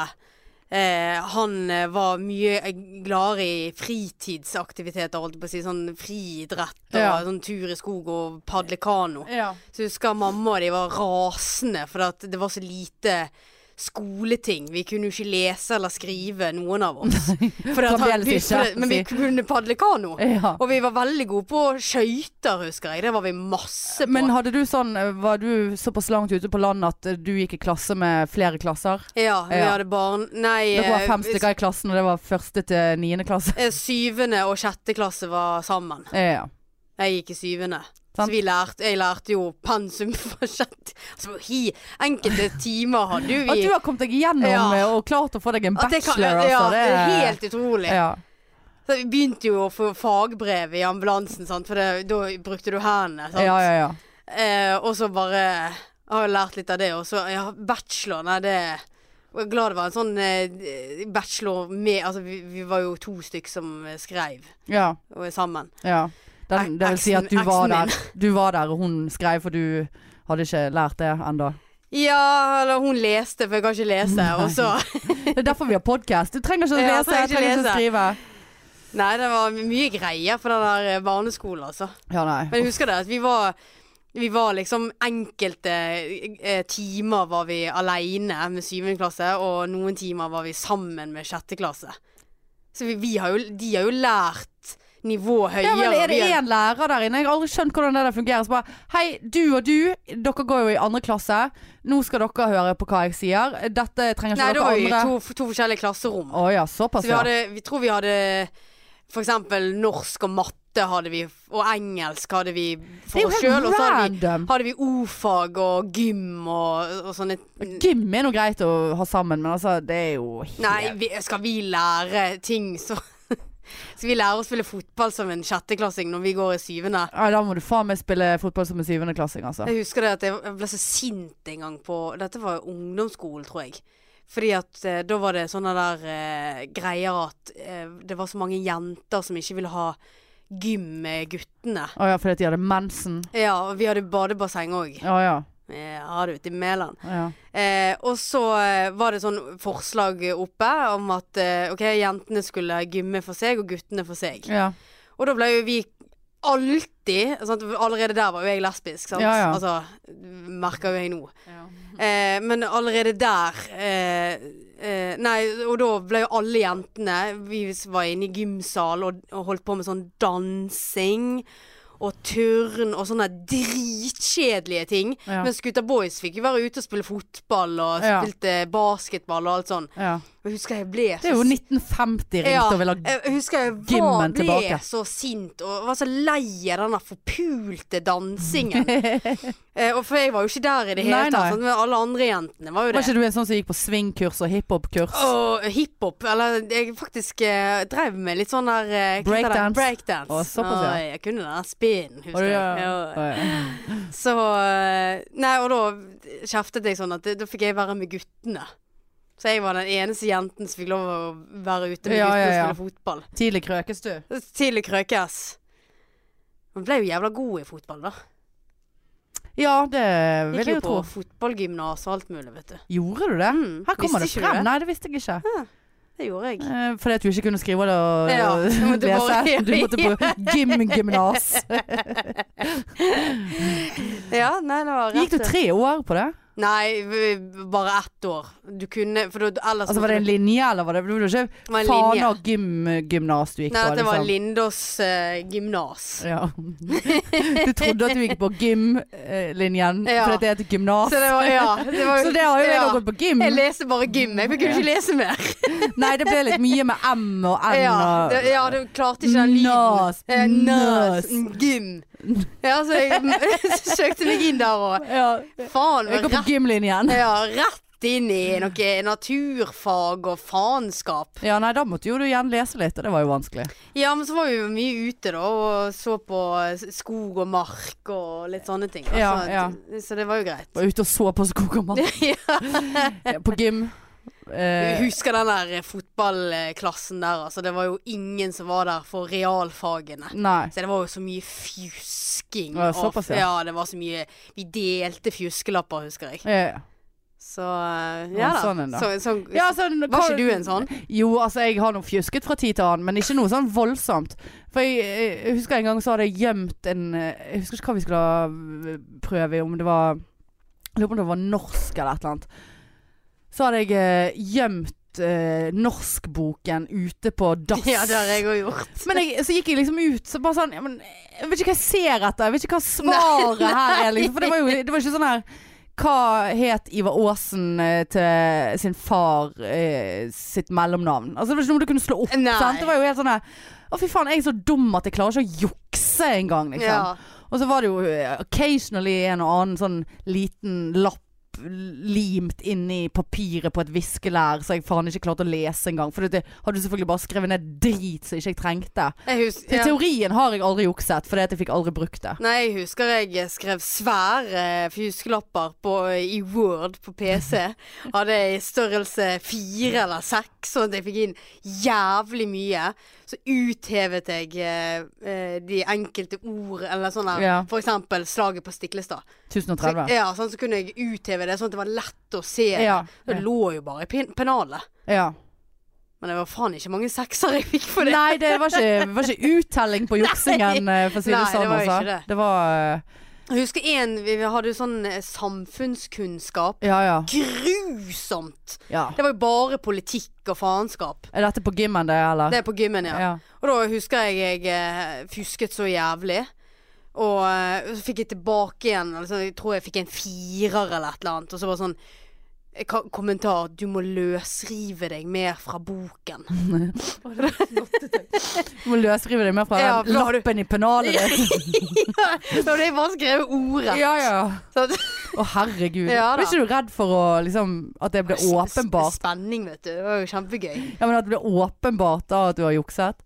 eh, han eh, var mye gladere i fritidsaktiviteter, holdt jeg på å si. Sånn friidrett og
Ja.
sånn tur i skog og padle kano.
ja.
Så jeg husker mamma og de var rasende, for at det var så lite skoleting. Vi kunne jo ikke lese eller skrive, noen av oss. Fordi at han-
Fremdeles
vi-
ikke,
fordi- Men vi
si.
kunne padle kano.
ja.
Og vi var veldig gode på skøyter, husker jeg. Det var vi masse på.
Men hadde du sånn, var du såpass langt ute på landet at eh, du gikk i klasse med flere klasser?
ja, vi
Ja.
hadde barn Nei,
Dere var
eh,
fem stykker i klassen, og det var første til niende klasse?
s- eh, syvende og sjette klasse var sammen.
Ja.
Jeg gikk i syvende.
Sant.
Så vi lærte, jeg lærte jo pensum for sjette altså, hi, Enkelte timer hadde jo
At
vi
du har kommet deg gjennom
Ja.
eh, og klart å få deg en
At det kan-
bachelor, altså.
Ja, det er
er-
helt utrolig.
ja.
Så vi begynte jo å få fagbrev i ambulansen, sant? for det, da brukte du hendene. Sant?
ja, ja, ja.
Eh, og så bare har jeg lært litt av det. Og så ja, bachelor, nei det Jeg er glad det var en sånn eh, bachelor med Altså vi, vi var jo to stykk som eh, skrev
ja,
og er sammen.
ja. Den, det vil si at du
Eksen-
var
eksen min.
der, du var der og hun skrev, for du hadde ikke lært det ennå.
Ja, eller hun leste, for jeg kan ikke lese. Og så
Det er derfor vi har podkast. Du trenger ikke å
Ja,
lese, jeg
trenger ikke
trenger ikke å
lese.
skrive.
Nei, det var mye greier på den der eh, barneskolen, altså.
Ja, nei.
Men jeg husker det at vi var vi var liksom enkelte eh, timer var vi aleine med syvende klasse, og noen timer var vi sammen med sjette klasse. Så vi, vi har jo, de har jo lært nivå høyere.
Ja, men er det
og vi har-
én lærer der inne? Jeg har aldri skjønt hvordan det der fungerer. Så bare Hei, du og du, dere går jo i andre klasse. Nå skal dere høre på hva jeg sier. Dette trenger
Nei,
ikke
det var jo
dere andre.
to, to forskjellige klasserom.
Å ja, såpass,
Så vi
ja.
hadde, vi tror vi hadde for eksempel norsk og matte hadde vi, og engelsk hadde vi
Det er
for
jo
oss
helt
sjøl. Og så hadde vi,
random.
hadde vi o-fag og gym og, og sånne
Gym er nå greit å ha sammen, men altså, det er jo helt
Nei, vi, skal vi lære ting så Skal vi lære å spille fotball som en sjetteklassing når vi går i syvende?
Nei, Da må du faen meg spille fotball som en syvendeklassing, altså.
Jeg husker det at jeg ble så sint en gang på Dette var jo ungdomsskolen, tror jeg. Fordi at eh, da var det sånne der eh, greier at eh, det var så mange jenter som ikke ville ha gym med guttene.
Å ja, fordi at de hadde mensen.
Ja, og vi hadde badebasseng òg.
Å ja.
Eh, har du ute i Mæland.
ja.
Eh, og så eh, var det sånn forslag oppe om at eh, ok, jentene skulle gymme for seg, og guttene for seg.
ja.
Og da ble jo vi alltid sant? Allerede der var jo jeg lesbisk, sant?
Ja, ja.
Altså, merker jo jeg nå. Eh, men allerede der eh, eh, Nei, og da ble jo alle jentene Vi var inne i gymsal og, og holdt på med sånn dansing. Og turn og sånne dritkjedelige ting.
Ja.
Mens gutta boys fikk jo være ute og spille fotball og
Ja.
spilte basketball og alt sånn.
ja.
Jeg husker jeg ble så
Det er jo 1950 ringte og ville ha
jeg eh, husker jeg var,
gymmen
ble
tilbake.
så sint og var så lei av den forpulte dansingen. eh, og for jeg var jo ikke der i det hele
Nei, nei.
tatt. sånn, Men alle andre jentene var jo
Var
det.
ikke du en sånn som gikk på swingkurs og hiphopkurs?
Og hiphop, eller jeg faktisk eh, drev med litt sånn der eh, hva heter det?
Breakdance.
Breakdance.
Å, såpass, ja.
Oi, Jeg kunne den der spinnen,
Var
husker
du-
jeg.
ja.
Ja. Så eh, Nei, og da kjeftet jeg sånn at det- da fikk jeg være med guttene. Så jeg var den eneste jenten som fikk lov å være ute med
Ja,
guttene
ja, ja.
og spille fotball.
Tidlig krøkes du.
Tidlig krøkes. Man ble jo jævla god i fotball, da.
Ja, det vil
Gikk
jeg
jo
jo
på
tro.
fotballgymnas og alt mulig, vet du.
Gjorde du det?
Mm.
Her kommer det
Visste ikke du
frem. Nei, det visste jeg ikke.
Det gjorde jeg.
Eh, Fordi at du ikke kunne skrive det og
Ja,
og
du måtte bare-
lese. Du måtte på gym-gymnas.
Ja, nei, det var rett. eh,
Gikk du tre år på det?
Nei, v- bare ett år. Du kunne For da ellers
Altså Var det en linje, eller var det, det var jo ikke
Det var en linje.
Fana gym-gymnas du gikk
Nei,
på?
dette var
liksom.
Lindås eh, gymnas.
Ja. Du trodde at du gikk på eh, gym-linjen,
Ja.
for det heter gymnas.
Så det var Ja. Det var,
Så det har jo jeg
ja.
også gått på gym.
Jeg leste bare gym. Jeg kunne ikke lese mer.
Nei, det ble litt mye med M og N
Ja,
og
det, ja, du klarte ikke den lyden.
Nas,
Eh,
nas.
Nas. Gym. Ja, så jeg søkte meg inn der og
ja.
Faen,
Jeg
var
går på
rett,
gymlinjen.
ja, rett inn i noe naturfag og faenskap.
Ja, nei, da måtte jo du igjen lese litt, og det var jo vanskelig.
Ja, men så var vi jo mye ute, da, og så på eh, skog og mark og litt sånne ting. da.
Ja,
så,
ja.
så det var jo greit.
Var ute og så på skog og mark.
ja.
Ja, På gym.
Jeg
Eh,
husker den der fotballklassen der, altså. Det var jo ingen som var der for realfagene.
nei.
Så det var jo så mye fjusking.
Ja,
og-
såpass, ja.
ja, det var så mye Vi delte fjuskelapper, husker jeg.
Eh,
Så eh,
Ja,
ja da.
sånn en da.
Så, sånn,
ja, sånn,
var
hva-
ikke du en sånn?
Jo, altså jeg har noe fjusket fra tid til annen, men ikke noe sånn voldsomt. For jeg, eh, jeg husker en gang så hadde jeg gjemt en eh, Jeg husker ikke hva vi skulle ha eh, prøve i, om det var Jeg lurer på om det var norsk eller et eller annet. Så hadde jeg eh, gjemt eh, norskboken ute på dass.
Ja, det har jeg òg gjort.
Men jeg, så gikk jeg liksom ut, så bare sånn ja, men, Jeg vet ikke hva jeg ser etter. Jeg vet ikke hva svaret her er, liksom. For det var jo det var ikke sånn her Hva het Ivar Aasen eh, til sin far eh, sitt mellomnavn? Altså Det var ikke noe du kunne slå opp.
Nei.
Sant? Det var jo helt sånn her Å, fy faen, jeg er så dum at jeg klarer ikke å jukse engang, liksom.
Ja.
Og så var det jo eh, occasionally en og annen sånn liten lapp limt inni papiret på et viskelær, så jeg faen ikke klarte å lese engang. For det hadde du selvfølgelig bare skrevet ned drit som ikke jeg trengte.
Jeg husker,
Til
ja.
teorien har jeg aldri jukset, fordi at jeg fikk aldri brukt det.
Nei, jeg husker jeg skrev svære fuskelapper på, i Word på PC. Hadde i størrelse fire eller seks, sånn at jeg fikk inn jævlig mye. Så uthevet jeg eh, eh, de enkelte ord, eller sånn der.
Ja.
For eksempel slaget på Stiklestad. Så,
1030.
ja, sånn, så kunne jeg utheve det, sånn at det var lett å se. det.
Ja,
Det lå jo bare i pen pennalet.
ja.
Men det var faen ikke mange sekser jeg fikk for det.
Nei, det var ikke, det var ikke uttelling på juksingen, eh, for å si det
Nei, det
sånn.
var jo
altså.
ikke det.
det var eh,
Jeg husker én, vi vi hadde jo sånn eh, samfunnskunnskap.
Ja, ja.
Grusomt!
ja.
Det var jo bare politikk og faenskap.
Er dette på gymmen, det, eller?
Det er på gymmen, ja.
ja.
Og da husker jeg jeg eh, fusket så jævlig. Og eh, så fikk jeg tilbake igjen altså, Jeg tror jeg fikk en firer eller et eller annet. Og så var det sånn eh, ka- kommentar 'Du må løsrive deg mer fra boken'.
Du må løsrive deg mer fra
Ja,
den
for da har du-
lappen i pennalet ditt.
Da hadde jeg bare skrevet ordet.
Ja, ja.
Så at-
Å herregud.
Ja, da.
Var ikke du redd for å, liksom, at det ble åpenbart
Spenning, vet du. Det var jo kjempegøy.
Ja, men at det ble åpenbart da at du har jukset?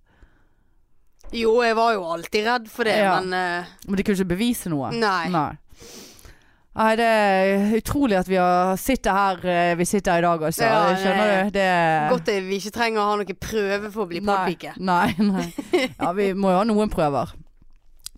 Jo, jeg var jo alltid redd for det,
Ja.
men eh,
Men de kunne ikke bevise noe?
Nei.
Nei. Nei, det er utrolig at vi har sitter her eh, vi sitter i dag, altså.
Ja,
Skjønner
det-
du? Det
Godt det vi ikke trenger å ha noen prøve for å bli podpike.
Nei, nei. nei. Ja, vi må jo ha noen prøver.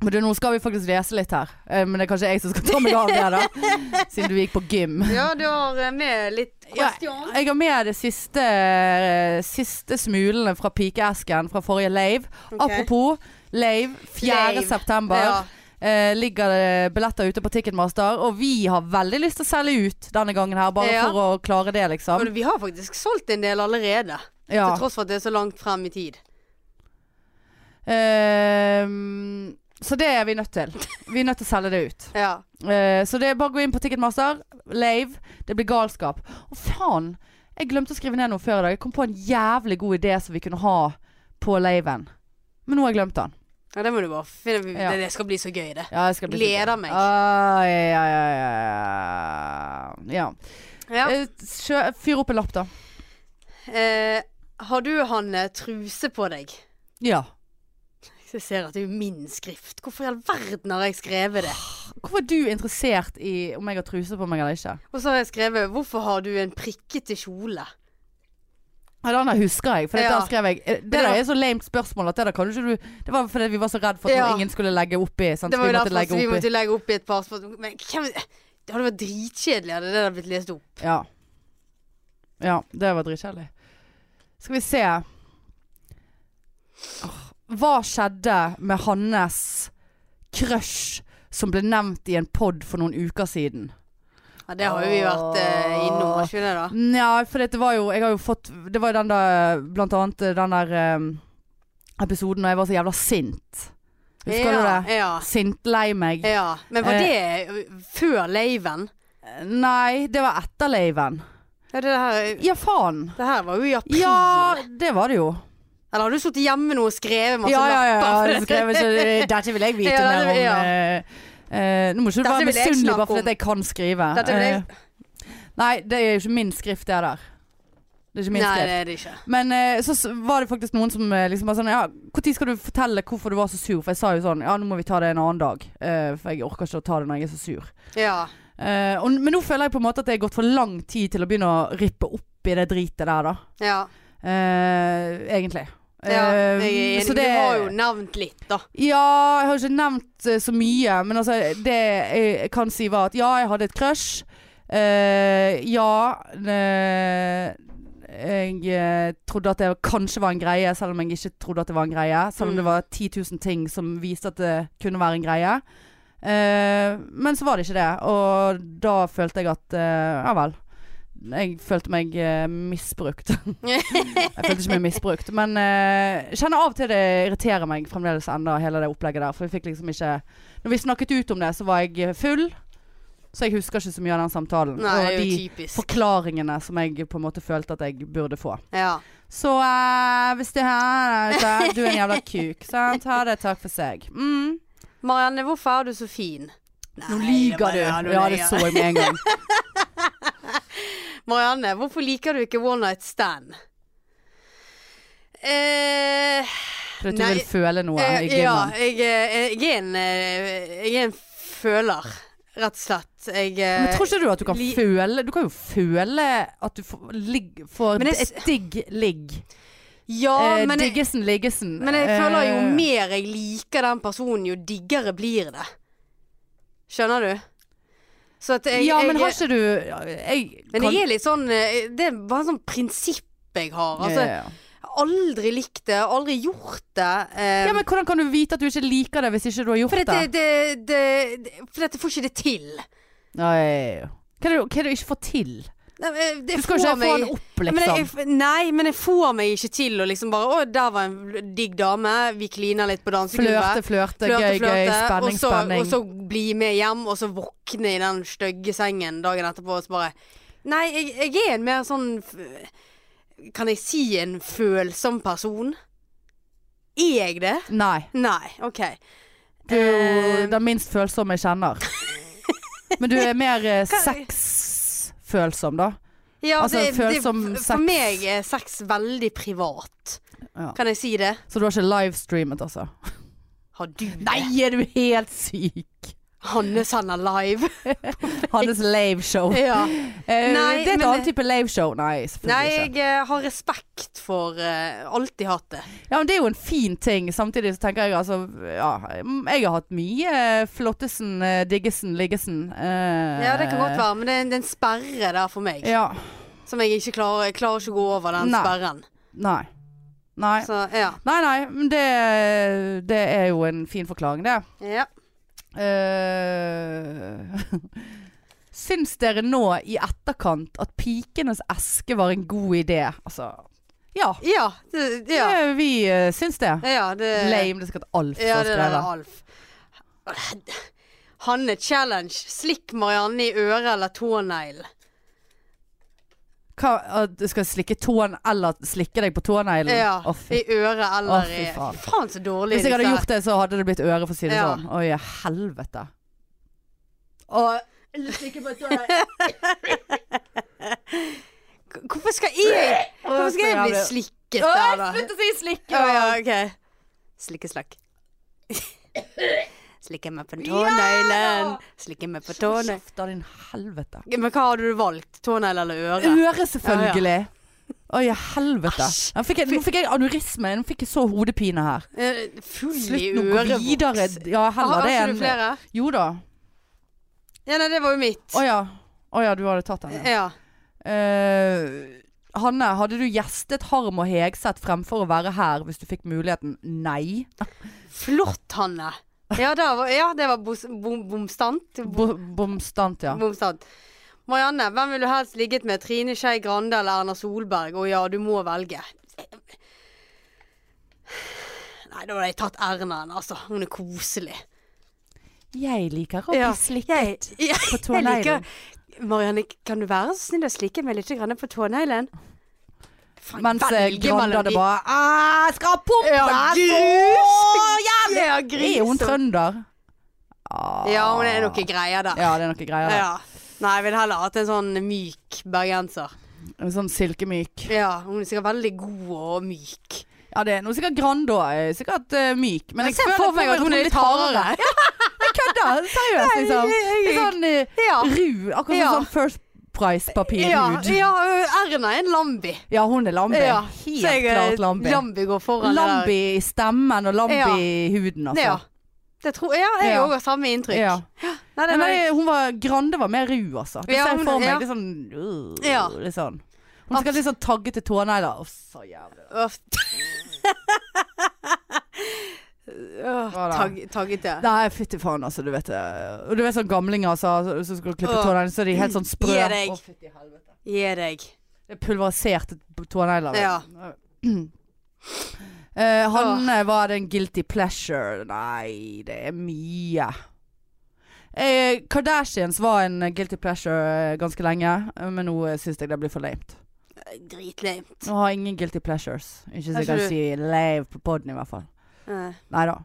Men du, nå skal vi faktisk lese litt her. Eh, Men det er kanskje jeg som skal ta meg av det, da. Siden du gikk på gym.
Ja, du har eh, med litt
Ja,
question.
jeg har med det siste, eh, siste smulene fra pikeesken fra forrige lave.
Ok.
Apropos lave, 4.
Lave.
september.
Ja.
Eh, ligger det billetter ute på Ticketmaster, og vi har veldig lyst til å selge ut denne gangen her, bare
Ja.
for å klare det, liksom.
Men vi har faktisk solgt en del allerede.
Ja.
Til tross for at det er så langt frem i tid.
Eh, så det er vi nødt til. Vi er nødt til å selge det ut.
Ja.
Eh, så det er bare å gå inn på Ticketmaster. Lave. Det blir galskap. Å, faen. Jeg glemte å skrive ned noe før i dag. Jeg kom på en jævlig god idé som vi kunne ha på laven. Men nå har jeg glemt den.
Ja, det må du bare finne
Ja.
det, det skal bli så gøy, det.
Ja, jeg skal bli sikker.
Gleder meg.
Ah, ja, ja, ja, ja. ja.
Ja.
Eh, kjø- Fyr opp en lapp, da.
Eh, har du, Hanne, truse på deg?
Ja.
Jeg ser at det er jo min skrift. Hvorfor i all verden har jeg skrevet det?
Hvorfor er du interessert i om jeg har truse på meg eller ikke?
Og så har jeg skrevet 'Hvorfor har du en prikkete kjole?'
Ja, den der husker jeg, for dette
Ja.
der skrev jeg eh, Det
det
der
var-
er så lame spørsmål at det der kan du ikke du Det var fordi vi var så redd for at
Ja.
noe ingen skulle legge oppi. Sant?
Det
Så
var jo
vi måtte
derfor så
legge
vi
oppi.
måtte legge opp i et par spørsmål. Men hvem Det hadde vært dritkjedelig hadde det der blitt lest opp.
Ja. ja. Det var dritkjedelig. Skal vi se Åh, Hva skjedde med Hannes crush som ble nevnt i en pod for noen uker siden?
Ja, Det har jo vi vært eh, innom, har ikke vi det, da?
Nja, for det var jo Jeg har jo fått Det var jo den da Blant annet eh, den der eh, episoden da jeg var så jævla sint. Husker du det? Eh.
Ja.
Sintlei meg.
ja, ja. Men var det eh, før laven?
Nei, det var etter laven.
Ja, det her,
Ja, faen.
det her var jo i april.
Ja, det var det jo.
Eller har du sittet hjemme nå og skrevet masse
Ja, ja, ja.
lapper?
ja. Skrev, så, eh, dette vil jeg vite
Ja,
mer om.
det vil- ja.
eh, eh, nå må ikke du
Dette
være
vil jeg
misunnelig
snakke
bare fordi
om.
at jeg kan skrive.
Dette vil jeg-
Eh, nei, det er jo ikke min skrift, det der. Det er ikke min
Nei,
skrift.
det er det ikke.
Men eh, så s- var det faktisk noen som eh, liksom var sånn Ja, når skal du fortelle hvorfor du var så sur? For jeg sa jo sånn Ja, nå må vi ta det en annen dag. eh, for jeg orker ikke å ta det når jeg er så sur.
Ja.
Eh, og, men nå føler jeg på en måte at det er gått for lang tid til å begynne å rippe opp i det dritet der, da.
ja.
Eh, egentlig.
Ja,
Eh,
jeg er enig.
så det-
Du har jo nevnt litt, da.
Ja, jeg har ikke nevnt eh, så mye, men altså, det jeg kan si var at ja, jeg hadde et crush. Eh, ja eh, Jeg eh, trodde at det kanskje var en greie, selv om jeg ikke trodde at det var en greie. Selv om
Mm.
det var 10 000 ting som viste at det kunne være en greie. Eh, men så var det ikke det, og da følte jeg at eh, Ja vel. Jeg følte meg eh, misbrukt. Jeg følte ikke meg misbrukt, men eh, jeg kjenner av og til det irriterer meg fremdeles enda hele det opplegget der. For vi fikk liksom ikke Når vi snakket ut om det, så var jeg full, så jeg husker ikke så mye av den samtalen.
Nei, det
og
er jo
de
typisk.
forklaringene som jeg på en måte følte at jeg burde få.
Ja.
Så eh, hvis det her er dette, Du er en jævla kuk, sant? Ha det, takk for seg. Mm.
Marianne, hvorfor er du så fin?
Nå
Nei, det
lyver
var-
du.
Ja, nå
Ja,
lyger
det
jeg.
så jeg med en gang.
Marianne, hvorfor liker du ikke One Night Stand? Eh,
Fordi du
Nei,
vil føle noe
eh,
i
ja,
gymmen.
jeg, eh, jeg, er en, eh, jeg er en føler, rett og slett. Jeg, eh,
Men tror ikke du at du kan
li-
føle Du kan jo føle at du får, ligg, får
Men jeg s-
et digg ligg.
ja,
eh,
men jeg,
diggesen, liggesen.
men jeg føler jo
Eh,
mer jeg liker den personen, jo diggere blir det. Skjønner du? Så at jeg,
Ja, men
jeg,
har ikke du Jeg
men jeg er litt sånn eh, Det er bare en sånn prinsipp jeg har. Altså,
ja, ja, ja.
Jeg har aldri likt det, aldri gjort det. eh,
ja, men hvordan kan du vite at du ikke liker det hvis ikke du har gjort
for
det?
dette, det, det, det, for dette får ikke det til.
Nei. Hva er det du- hva er det du ikke får til?
Nei, eh, Det
Du skal jo
får
ikke få
meg-
den opp,
Men jeg,
liksom.
jeg- nei, men jeg får meg ikke til å liksom bare Å, der var en digg dame. Vi kliner litt på
Flørte,
dansegulvet.
flørte, gøy, gøy, spenning,
og så,
spenning.
Og så bli med hjem, og så våkne i den stygge sengen dagen etterpå og så bare Nei, jeg, jeg er en mer sånn f- Kan jeg si en følsom person? Er jeg det?
Nei.
Nei, OK.
Du er jo
Eh,
den minst følsomme jeg kjenner. Men du er mer eh,
Hva-
sexfølsom, da.
Ja,
Altså,
det, det,
følsom
for
sex.
meg er sex veldig privat.
Ja.
Kan jeg si det?
Så du har ikke livestreamet, altså?
Har du det?
Nei, er du helt syk?
Hanne sender live.
Hannes laveshow. Eh,
ja. Nei,
det er et
men-
annet type laveshow. Nei, selvfølgelig
Nei,
ikke.
jeg eh, har respekt for eh, Alltid hatt det.
Ja, men det er jo en fin ting. Samtidig så tenker jeg altså Ja, mm, jeg har hatt mye eh, flottesen, eh, diggesen, liggesen. eh,
Ja, det kan godt være, men det er, en- det er en sperre der for meg.
Ja.
Som jeg ikke klarer Jeg klarer ikke å gå over den
Nei.
sperren.
Nei. Nei.
Så ja.
Nei, nei, men det, det er jo en fin forklaring, det.
ja.
Eh, Syns dere nå i etterkant at Pikenes eske var en god idé? Altså Ja.
Ja. Det, ja.
eh, Vi uh, syns det.
ja det,
Lame. Det skal et Alf
Ja,
ha
det der
skrevet.
er Alf. Hanne challenge. Slikk Marianne i øret eller tånegl.
Hva, eh, at du skal slikke tåen eller slikke deg på tåneglen?
Ja,
Mm. Å, fy.
I øret eller
Å,
i
fy faen.
Faen så dårlig
Hvis jeg hadde
disse-
gjort det, så hadde det blitt øre, for å si det
Ja.
sånn. Oi, helvete. Og slikke på tåneglen
Hvorfor skal jeg Hvorfor skal jeg bli slikket der, da?
Slutt å si slikke!
Å ja, OK. Slikkeslakk. Slikke meg på tåneglen. Slikke meg på tåneglen.
Kjeft av din helvete.
Men hva hadde du valgt? Tånegl eller øre?
Øre, selvfølgelig. Oi, helvete.
Æsj.
Nå fikk, jeg, nå fikk jeg aneurisme. Nå fikk jeg så hodepine her.
Eh, Full i
Slutt nå, gå videre.
ørevoks.
Ja,
Har
heller det
har ikke du
enn
flere?
Jo da.
Ja, nei, det var jo mitt.
Å ja. Å ja, du hadde tatt den. ja.
Ja.
Eh, Hanne, hadde du gjestet Harm og Hegseth fremfor å være her hvis du fikk muligheten? Nei.
Flott, Hanne. Ja, det var, ja, det var bos- bom, bomstant.
Bo- Bomstant, ja.
Bomstant. Marianne, hvem ville du helst ligget med? Trine Skei Grande eller Erna Solberg? Å ja, du må velge. Nei, da hadde jeg tatt Erna, altså. Hun er koselig.
Jeg liker å
Ja,
bli slikket
Ja,
på
jeg
tåneglen.
liker Marianne, kan du være så snill å slikke meg litt grann på tåneglen? Faen,
Mens eh,
velge
Grande
mellom
hadde
de-
bare «Ah, Jeg skal pumpe!
Ja,
så
grus!
jævlig!»
Ja,
Er hun
grus.
trønder?
Ja, hun er noe greier der.
Ja, det er noe greier.
Ja. Nei, jeg ville heller hatt en sånn myk bergenser.
En Sånn silkemyk.
Ja, hun er sikkert veldig god og myk.
Ja, det er noe sikkert Grande òg. Sikkert eh, myk. Men jeg,
ser
føler
for meg at hun er litt hardere.
Jeg kødder! Seriøst, liksom.
jeg- jeg-
Sånn eh,
Ja.
ru. Akkurat
Ja.
sånn First
Ja,
Price-papirhud.
ja, Erna er en lambi.
Ja, hun er Lambi.
Ja,
Helt
så jeg, eh,
klart Lambi.
Lambi går foran det
Lambi i stemmen og Lambi
Ja.
i huden,
der.
altså.
Ja. Det tror jeg òg
Ja.
har samme inntrykk.
Ja.
Nei, det
Men
var,
nei, hun var, Grande var mer ru, altså. Det
Ja,
ser jeg
hun-
for meg.
ja.
Litt sånn, øh,
Ja.
litt sånn. Hun skal litt sånn taggete tånegler. Å, så jævlig.
Uff. Åh,
Hva da?
tagg- Tagget, ja.
Nei, fytti faen, altså. Du vet, det. Og du vet sånn gamlinger altså, som skal klippe
Åh.
tånegler, så er de helt sånn sprø.
Gi deg.
Å, fytti helvete.
Gi deg.
Det er pulveriserte tånegler.
Ja.
Eh, Hanne, var det en guilty pleasure? Nei, det er mye. Eh, Kardashians var en guilty pleasure eh, ganske lenge, eh, men nå eh, syns jeg det blir for lamet.
Dritleimt.
Nå har jeg ingen guilty pleasures. Ikke så
Er
jeg kan
ikke du-
si lave på poden, i hvert fall.
Eh,
Nei da.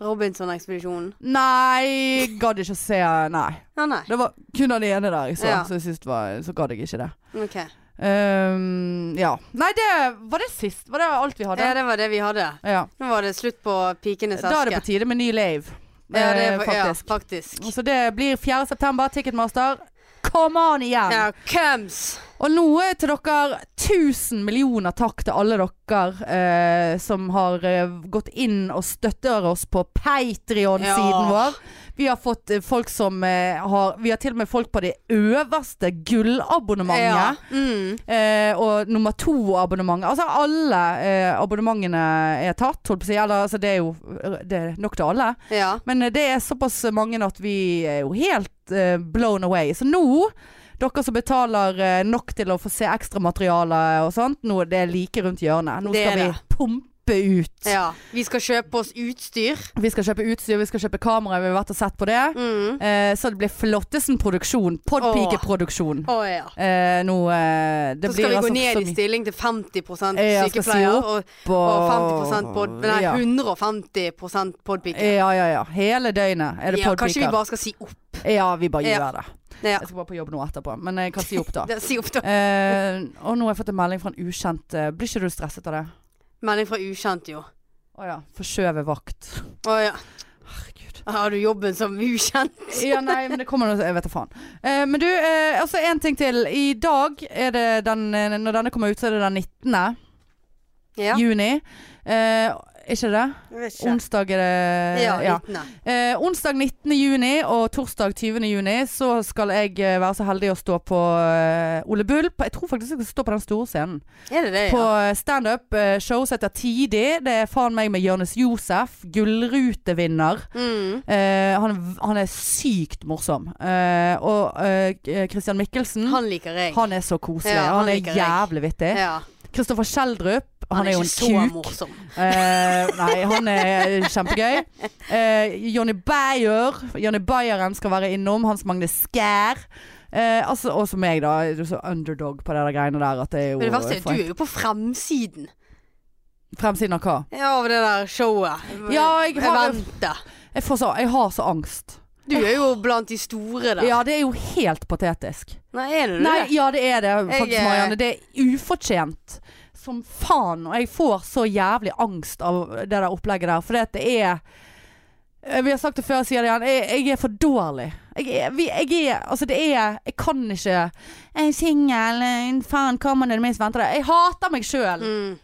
Robinson-ekspedisjonen.
Nei, gadd ikke å se Nei.
Ja, nei.
Det var kun den ene der jeg så,
Ja.
så jeg synes det var, så gadd jeg ikke det.
Ok.
Ehm, ja. Nei, det var det sist. Var det alt vi hadde?
Ja, det var det vi hadde.
Ja.
Nå var det slutt på Pikenes
Da er det
eske.
på tide med ny lave.
Ja, det er,
Eh,
fa-
faktisk.
Ja, faktisk.
Så det blir 4. september, Ticketmaster. Come on igjen!
Ja, Kums!
Og nå er til dere tusen millioner takk til alle dere eh, som har eh, gått inn og støtter oss på Patrion-siden
Ja.
vår. Vi har fått eh, folk som eh, har Vi har til og med folk på det øverste gullabonnementet.
Ja. Mm.
Eh, og nummer to abonnement Altså alle eh, abonnementene er tatt, holdt på å si. Eller altså, det er jo det er nok til alle.
ja.
Men eh, det er såpass mange at vi er jo helt eh, blown away. Så nå, dere som betaler eh, nok til å få se ekstra materiale og sånt, nå er det like rundt hjørnet. Nå
Det
skal
er
vi
det.
pumpe ut.
Ja. Vi skal kjøpe oss utstyr.
Vi skal kjøpe utstyr, vi skal kjøpe kamera, vi har vært og sett på det.
Mm.
Eh, så det blir flottesen produksjon. Podpikeproduksjon.
Å ja.
Eh, nå eh, Det
Så skal
blir
vi gå
altså
ned
så
i
mye
stilling til 50
Ja, skal si
sykepleier
opp,
og,
på
og 50 pod, nei,
ja.
150 podpiker.
ja, ja, ja. Hele døgnet er det
Ja, kanskje vi
podpiker.
bare skal si opp.
Ja, vi bare gjør
Ja.
det.
Ja.
Jeg skal bare på jobb nå etterpå, men eh, jeg kan si opp da.
Det- Si opp, da.
Eh, og nå har jeg fått en melding fra en ukjent. eh, Blir ikke du stresset av det?
Melding fra ukjent, jo.
Å ja. Forskjøvet vakt.
Å ja.
Herregud.
Har du jobben som ukjent?
Ja, nei, men det kommer noe Jeg vet da faen. Eh, men du, eh, altså en ting til. I dag er det den eh, Når denne kommer ut, så er det den 19.
Ja.
juni. Eh, ikke det? Onsdag er det
Ja,
ja.
vitne.
Eh, onsdag 19. juni og torsdag 20. juni så skal jeg eh, være så heldig å stå på eh, Ole Bull. På, jeg tror faktisk jeg skal stå på den store scenen.
Er det det,
På
ja?
eh, standup. eh, Show som heter Tidig. Det er faen meg med Jonis Josef. Gullrutevinner.
Mm.
Eh, han, han er sykt morsom. Eh, og eh, Christian Mikkelsen. Han,
Han liker jeg.
er så koselig.
Ja, han
han, er
liker jeg.
jævlig vittig.
ja.
Kristoffer Schjelderup. Han er jo
ikke
en
så
kuk.
morsom.
Eh, nei, han er kjempegøy. Eh, Johnny Bayer. Johnny Bayeren skal være innom. Hans Magne Skjær. Eh, altså, og som meg, da. Er du så underdog på det der greiene der at det er jo
Men det verste er,
for-
du er jo på fremsiden
Fremsiden av hva?
ja, av det der showet.
Ja, jeg har-
Eventet.
Jeg, får så, jeg har så angst.
Du er jo blant de store der.
Ja, det er jo helt patetisk.
Nei, er du
Nei,
det?
ja, det er det faktisk,
Jeg, eh,
Marianne. Det er ufortjent som faen. Og jeg får så jævlig angst av det der opplegget der. For det er Eh, Vi har sagt det før, jeg sier det igjen. Jeg, jeg er for dårlig. Jeg er, vi, jeg er Altså, det er Jeg kan ikke Jeg er singel, eh, faen, kommer det minst venter det. Jeg hater meg sjøl.
Mm.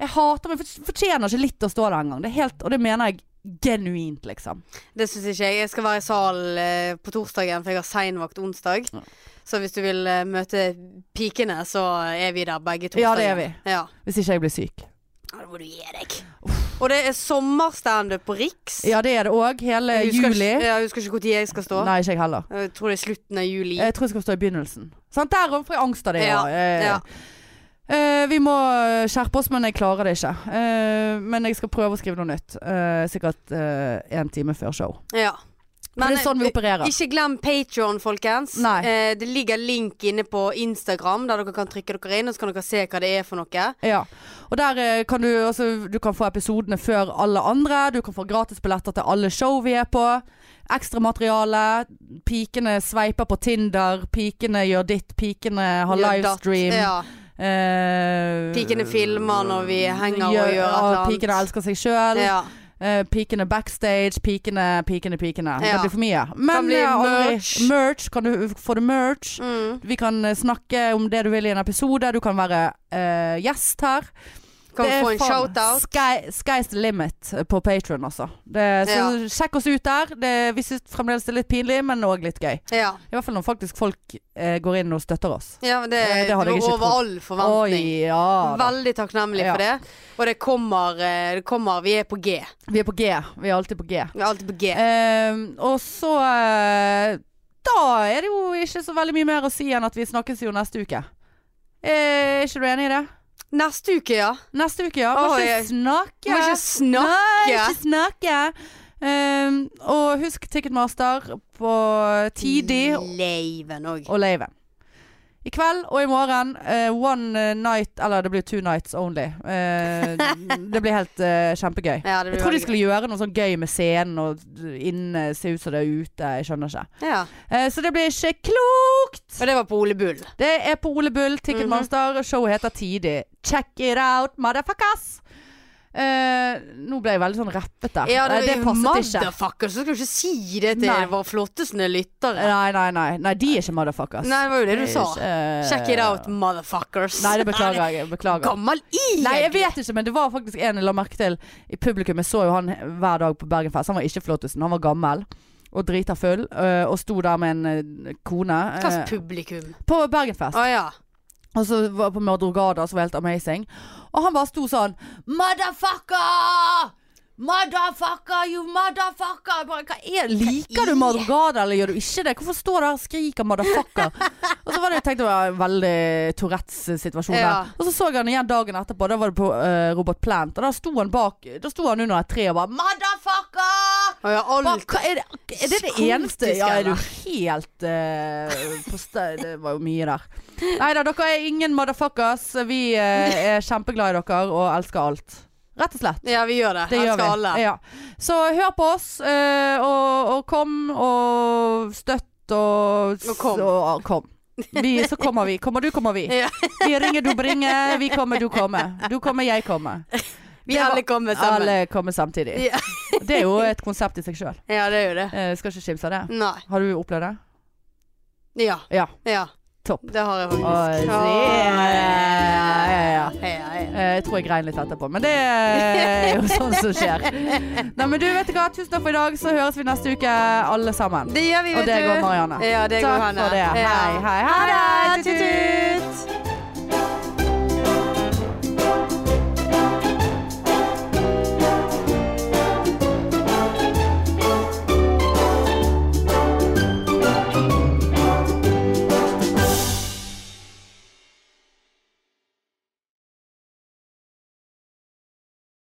Jeg hater meg. for- Fortjener ikke litt å stå der engang. Det er helt Og det mener jeg genuint, liksom.
Det syns ikke jeg. Jeg skal være i salen eh, på torsdagen, for jeg har seinvakt onsdag.
Ja.
Så hvis du vil eh, møte pikene, så er vi der begge
Ja,
torsdagen.
det er
Ja.
Hvis ikke jeg blir syk.
Ja, det må du gi deg. Og det er sommerstandup på Riks.
Ja, det er det òg. Hele
Jeg husker
juli.
Ikke, ja, jeg husker ikke når jeg skal stå.
Nei, Eh, ikke jeg heller.
Jeg tror det er slutten av juli.
Jeg tror jeg skal stå i begynnelsen. Sant? Der òg får jeg angst av det.
Ja,
ja. Eh,
ja.
eh, vi må skjerpe oss, men jeg klarer det ikke. Eh, men jeg skal prøve å skrive noe nytt. Eh, sikkert én time før show.
Ja. eh,
Men det er sånn vi opererer.
Ikke glem Patreon, folkens.
Nei.
Eh, det ligger link inne på Instagram, der dere kan trykke dere inn, og så kan dere se hva det er for noe.
Ja. Og der eh, kan du altså, Du kan få episodene før alle andre. Du kan få gratisbilletter til alle show vi er på. Ekstramateriale. Pikene sveiper på Tinder. Pikene gjør ditt. Pikene har
Gjør datt.
livestream.
Ja.
Eh,
Pikene filmer når vi henger og gjør et
ja,
eller annet.
Pikene elsker seg sjøl.
Ja.
Eh, pikene backstage, pikene, pikene, pikene. Det
Ja.
blir for mye. Men
Kan bli
eh, aldri-
merch.
merch. Kan du, får du merch?
Mm.
Vi kan eh, snakke om det du vil i en episode. Du kan være eh, gjest her.
Kan vi få en
faen-
shout-out?
Sky, sky's the limit på Patron, altså. Det- Så
Ja.
sjekk oss ut der. Det, vi syns fremdeles det er litt pinlig, men òg litt gøy.
Ja.
I hvert fall når faktisk folk eh, går inn og støtter oss.
ja men det,
Eh, det hadde jeg
det
ikke
var over
trodd.
all forventning.
Oi, ja. da.
Veldig takknemlig for det. Og det kommer, eh, det kommer Vi er på G.
Vi er på G. Vi er alltid på G.
Vi er alltid på G.
Ehm, og så eh, Da er det jo ikke så veldig mye mer å si enn at vi snakkes jo neste uke. Eh, Er ikke du enig i det?
Neste uke, ja.
Neste uke, ja. Må
Oi.
ikke snakke.
Må ikke snakke.
Nei, ikke snakke. Ehm, og husk Ticketmaster på tidlig
Leiven òg.
og laven. I kveld og i morgen. eh, one night Eller det blir two nights only. Eh, det blir helt eh, kjempegøy.
Ja, det
Jeg tror
blir
de
veldig
skulle gjøre noe sånn gøy med scenen og inne se ut som det er ute. Jeg skjønner ikke.
gøy. Ja.
Eh, Så det blir ikke klokt!
Og det var på Ole Bull.
Det er på Ole Bull, Ticketmaster.
Mhm.
Showet heter Tidig. Check it out, motherfuckers! Eh, nå ble jeg veldig sånn rappete. Eh, det passet ikke.
Motherfucker, så skal du ikke si det til
Nei.
våre flotteste lyttere.
Nei, nei, nei. Nei, de er ikke motherfuckers.
Nei, det var jo det du
er
sa.
ikke- eh,
Check it out, motherfuckers.
Nei, det beklager jeg. Beklager.
Gammel i!
Nei, jeg vet ikke, men det var faktisk en jeg la merke til i publikum. Jeg så jo han hver dag på Bergenfest. Han var ikke flottusen, han var gammel. Og drita full. eh, Og sto der med en eh, kone.
Hva
eh,
slags publikum?
På Bergenfest.
Å ja.
Og så var jeg på Mordorgada, som var helt amazing. Og han bare sto sånn Motherfucker! Motherfucker, you motherfucker! Jeg Bare, hva er, liker du Mordorgada, eller gjør du ikke det? Hvorfor står du her og skriker 'motherfucker'? og så var det, jeg tenkte det var en veldig Tourettes-situasjon der.
Ja.
Og så så jeg han igjen dagen etterpå. Da var det på eh, Robert Plant. Og da sto han bak Da sto han under et tre og bare 'motherfucker'!
Å ja,
Hva,
alt.
hva, er, det, er det det
Skrotisk,
eneste? Ja, er du
eller?
helt eh, på stø- Det var jo mye der. Nei da, dere er ingen motherfuckers. Vi eh, er kjempeglad i dere og elsker alt. Rett og slett.
Ja, vi gjør det.
Det gjør
Elsker
vi.
alle.
Ja. Så hør på oss, eh, og, og kom og støtt og,
Og kom.
og kom. Vi, så kommer vi. Kommer du, kommer vi.
Ja.
Vi ringer, du bringer. Vi kommer, du kommer. Du kommer, jeg kommer.
Vi
Det var-
alle kommer sammen.
Alle kommer samtidig.
Ja.
Det er jo et konsept i seg sjøl.
Ja, det er jo det.
Skal ikke kimse av det.
Nei.
Har du opplevd det?
Ja.
Ja.
ja.
Topp.
Det har jeg faktisk.
Å, se. Ja, ja, ja.
Ja, ja.
Eh, Jeg tror jeg grein litt etterpå, men det er jo sånn som skjer. Nei, men du vet du hva, tusen takk for i dag, så høres vi neste uke alle sammen.
Det gjør vi,
Og
vet du.
det går Marianne.
Ja, det
Takk
går Hanne.
for det.
Ja.
Hei, hei, hei.
Ha det.
Tut, tut.
Tut, tut.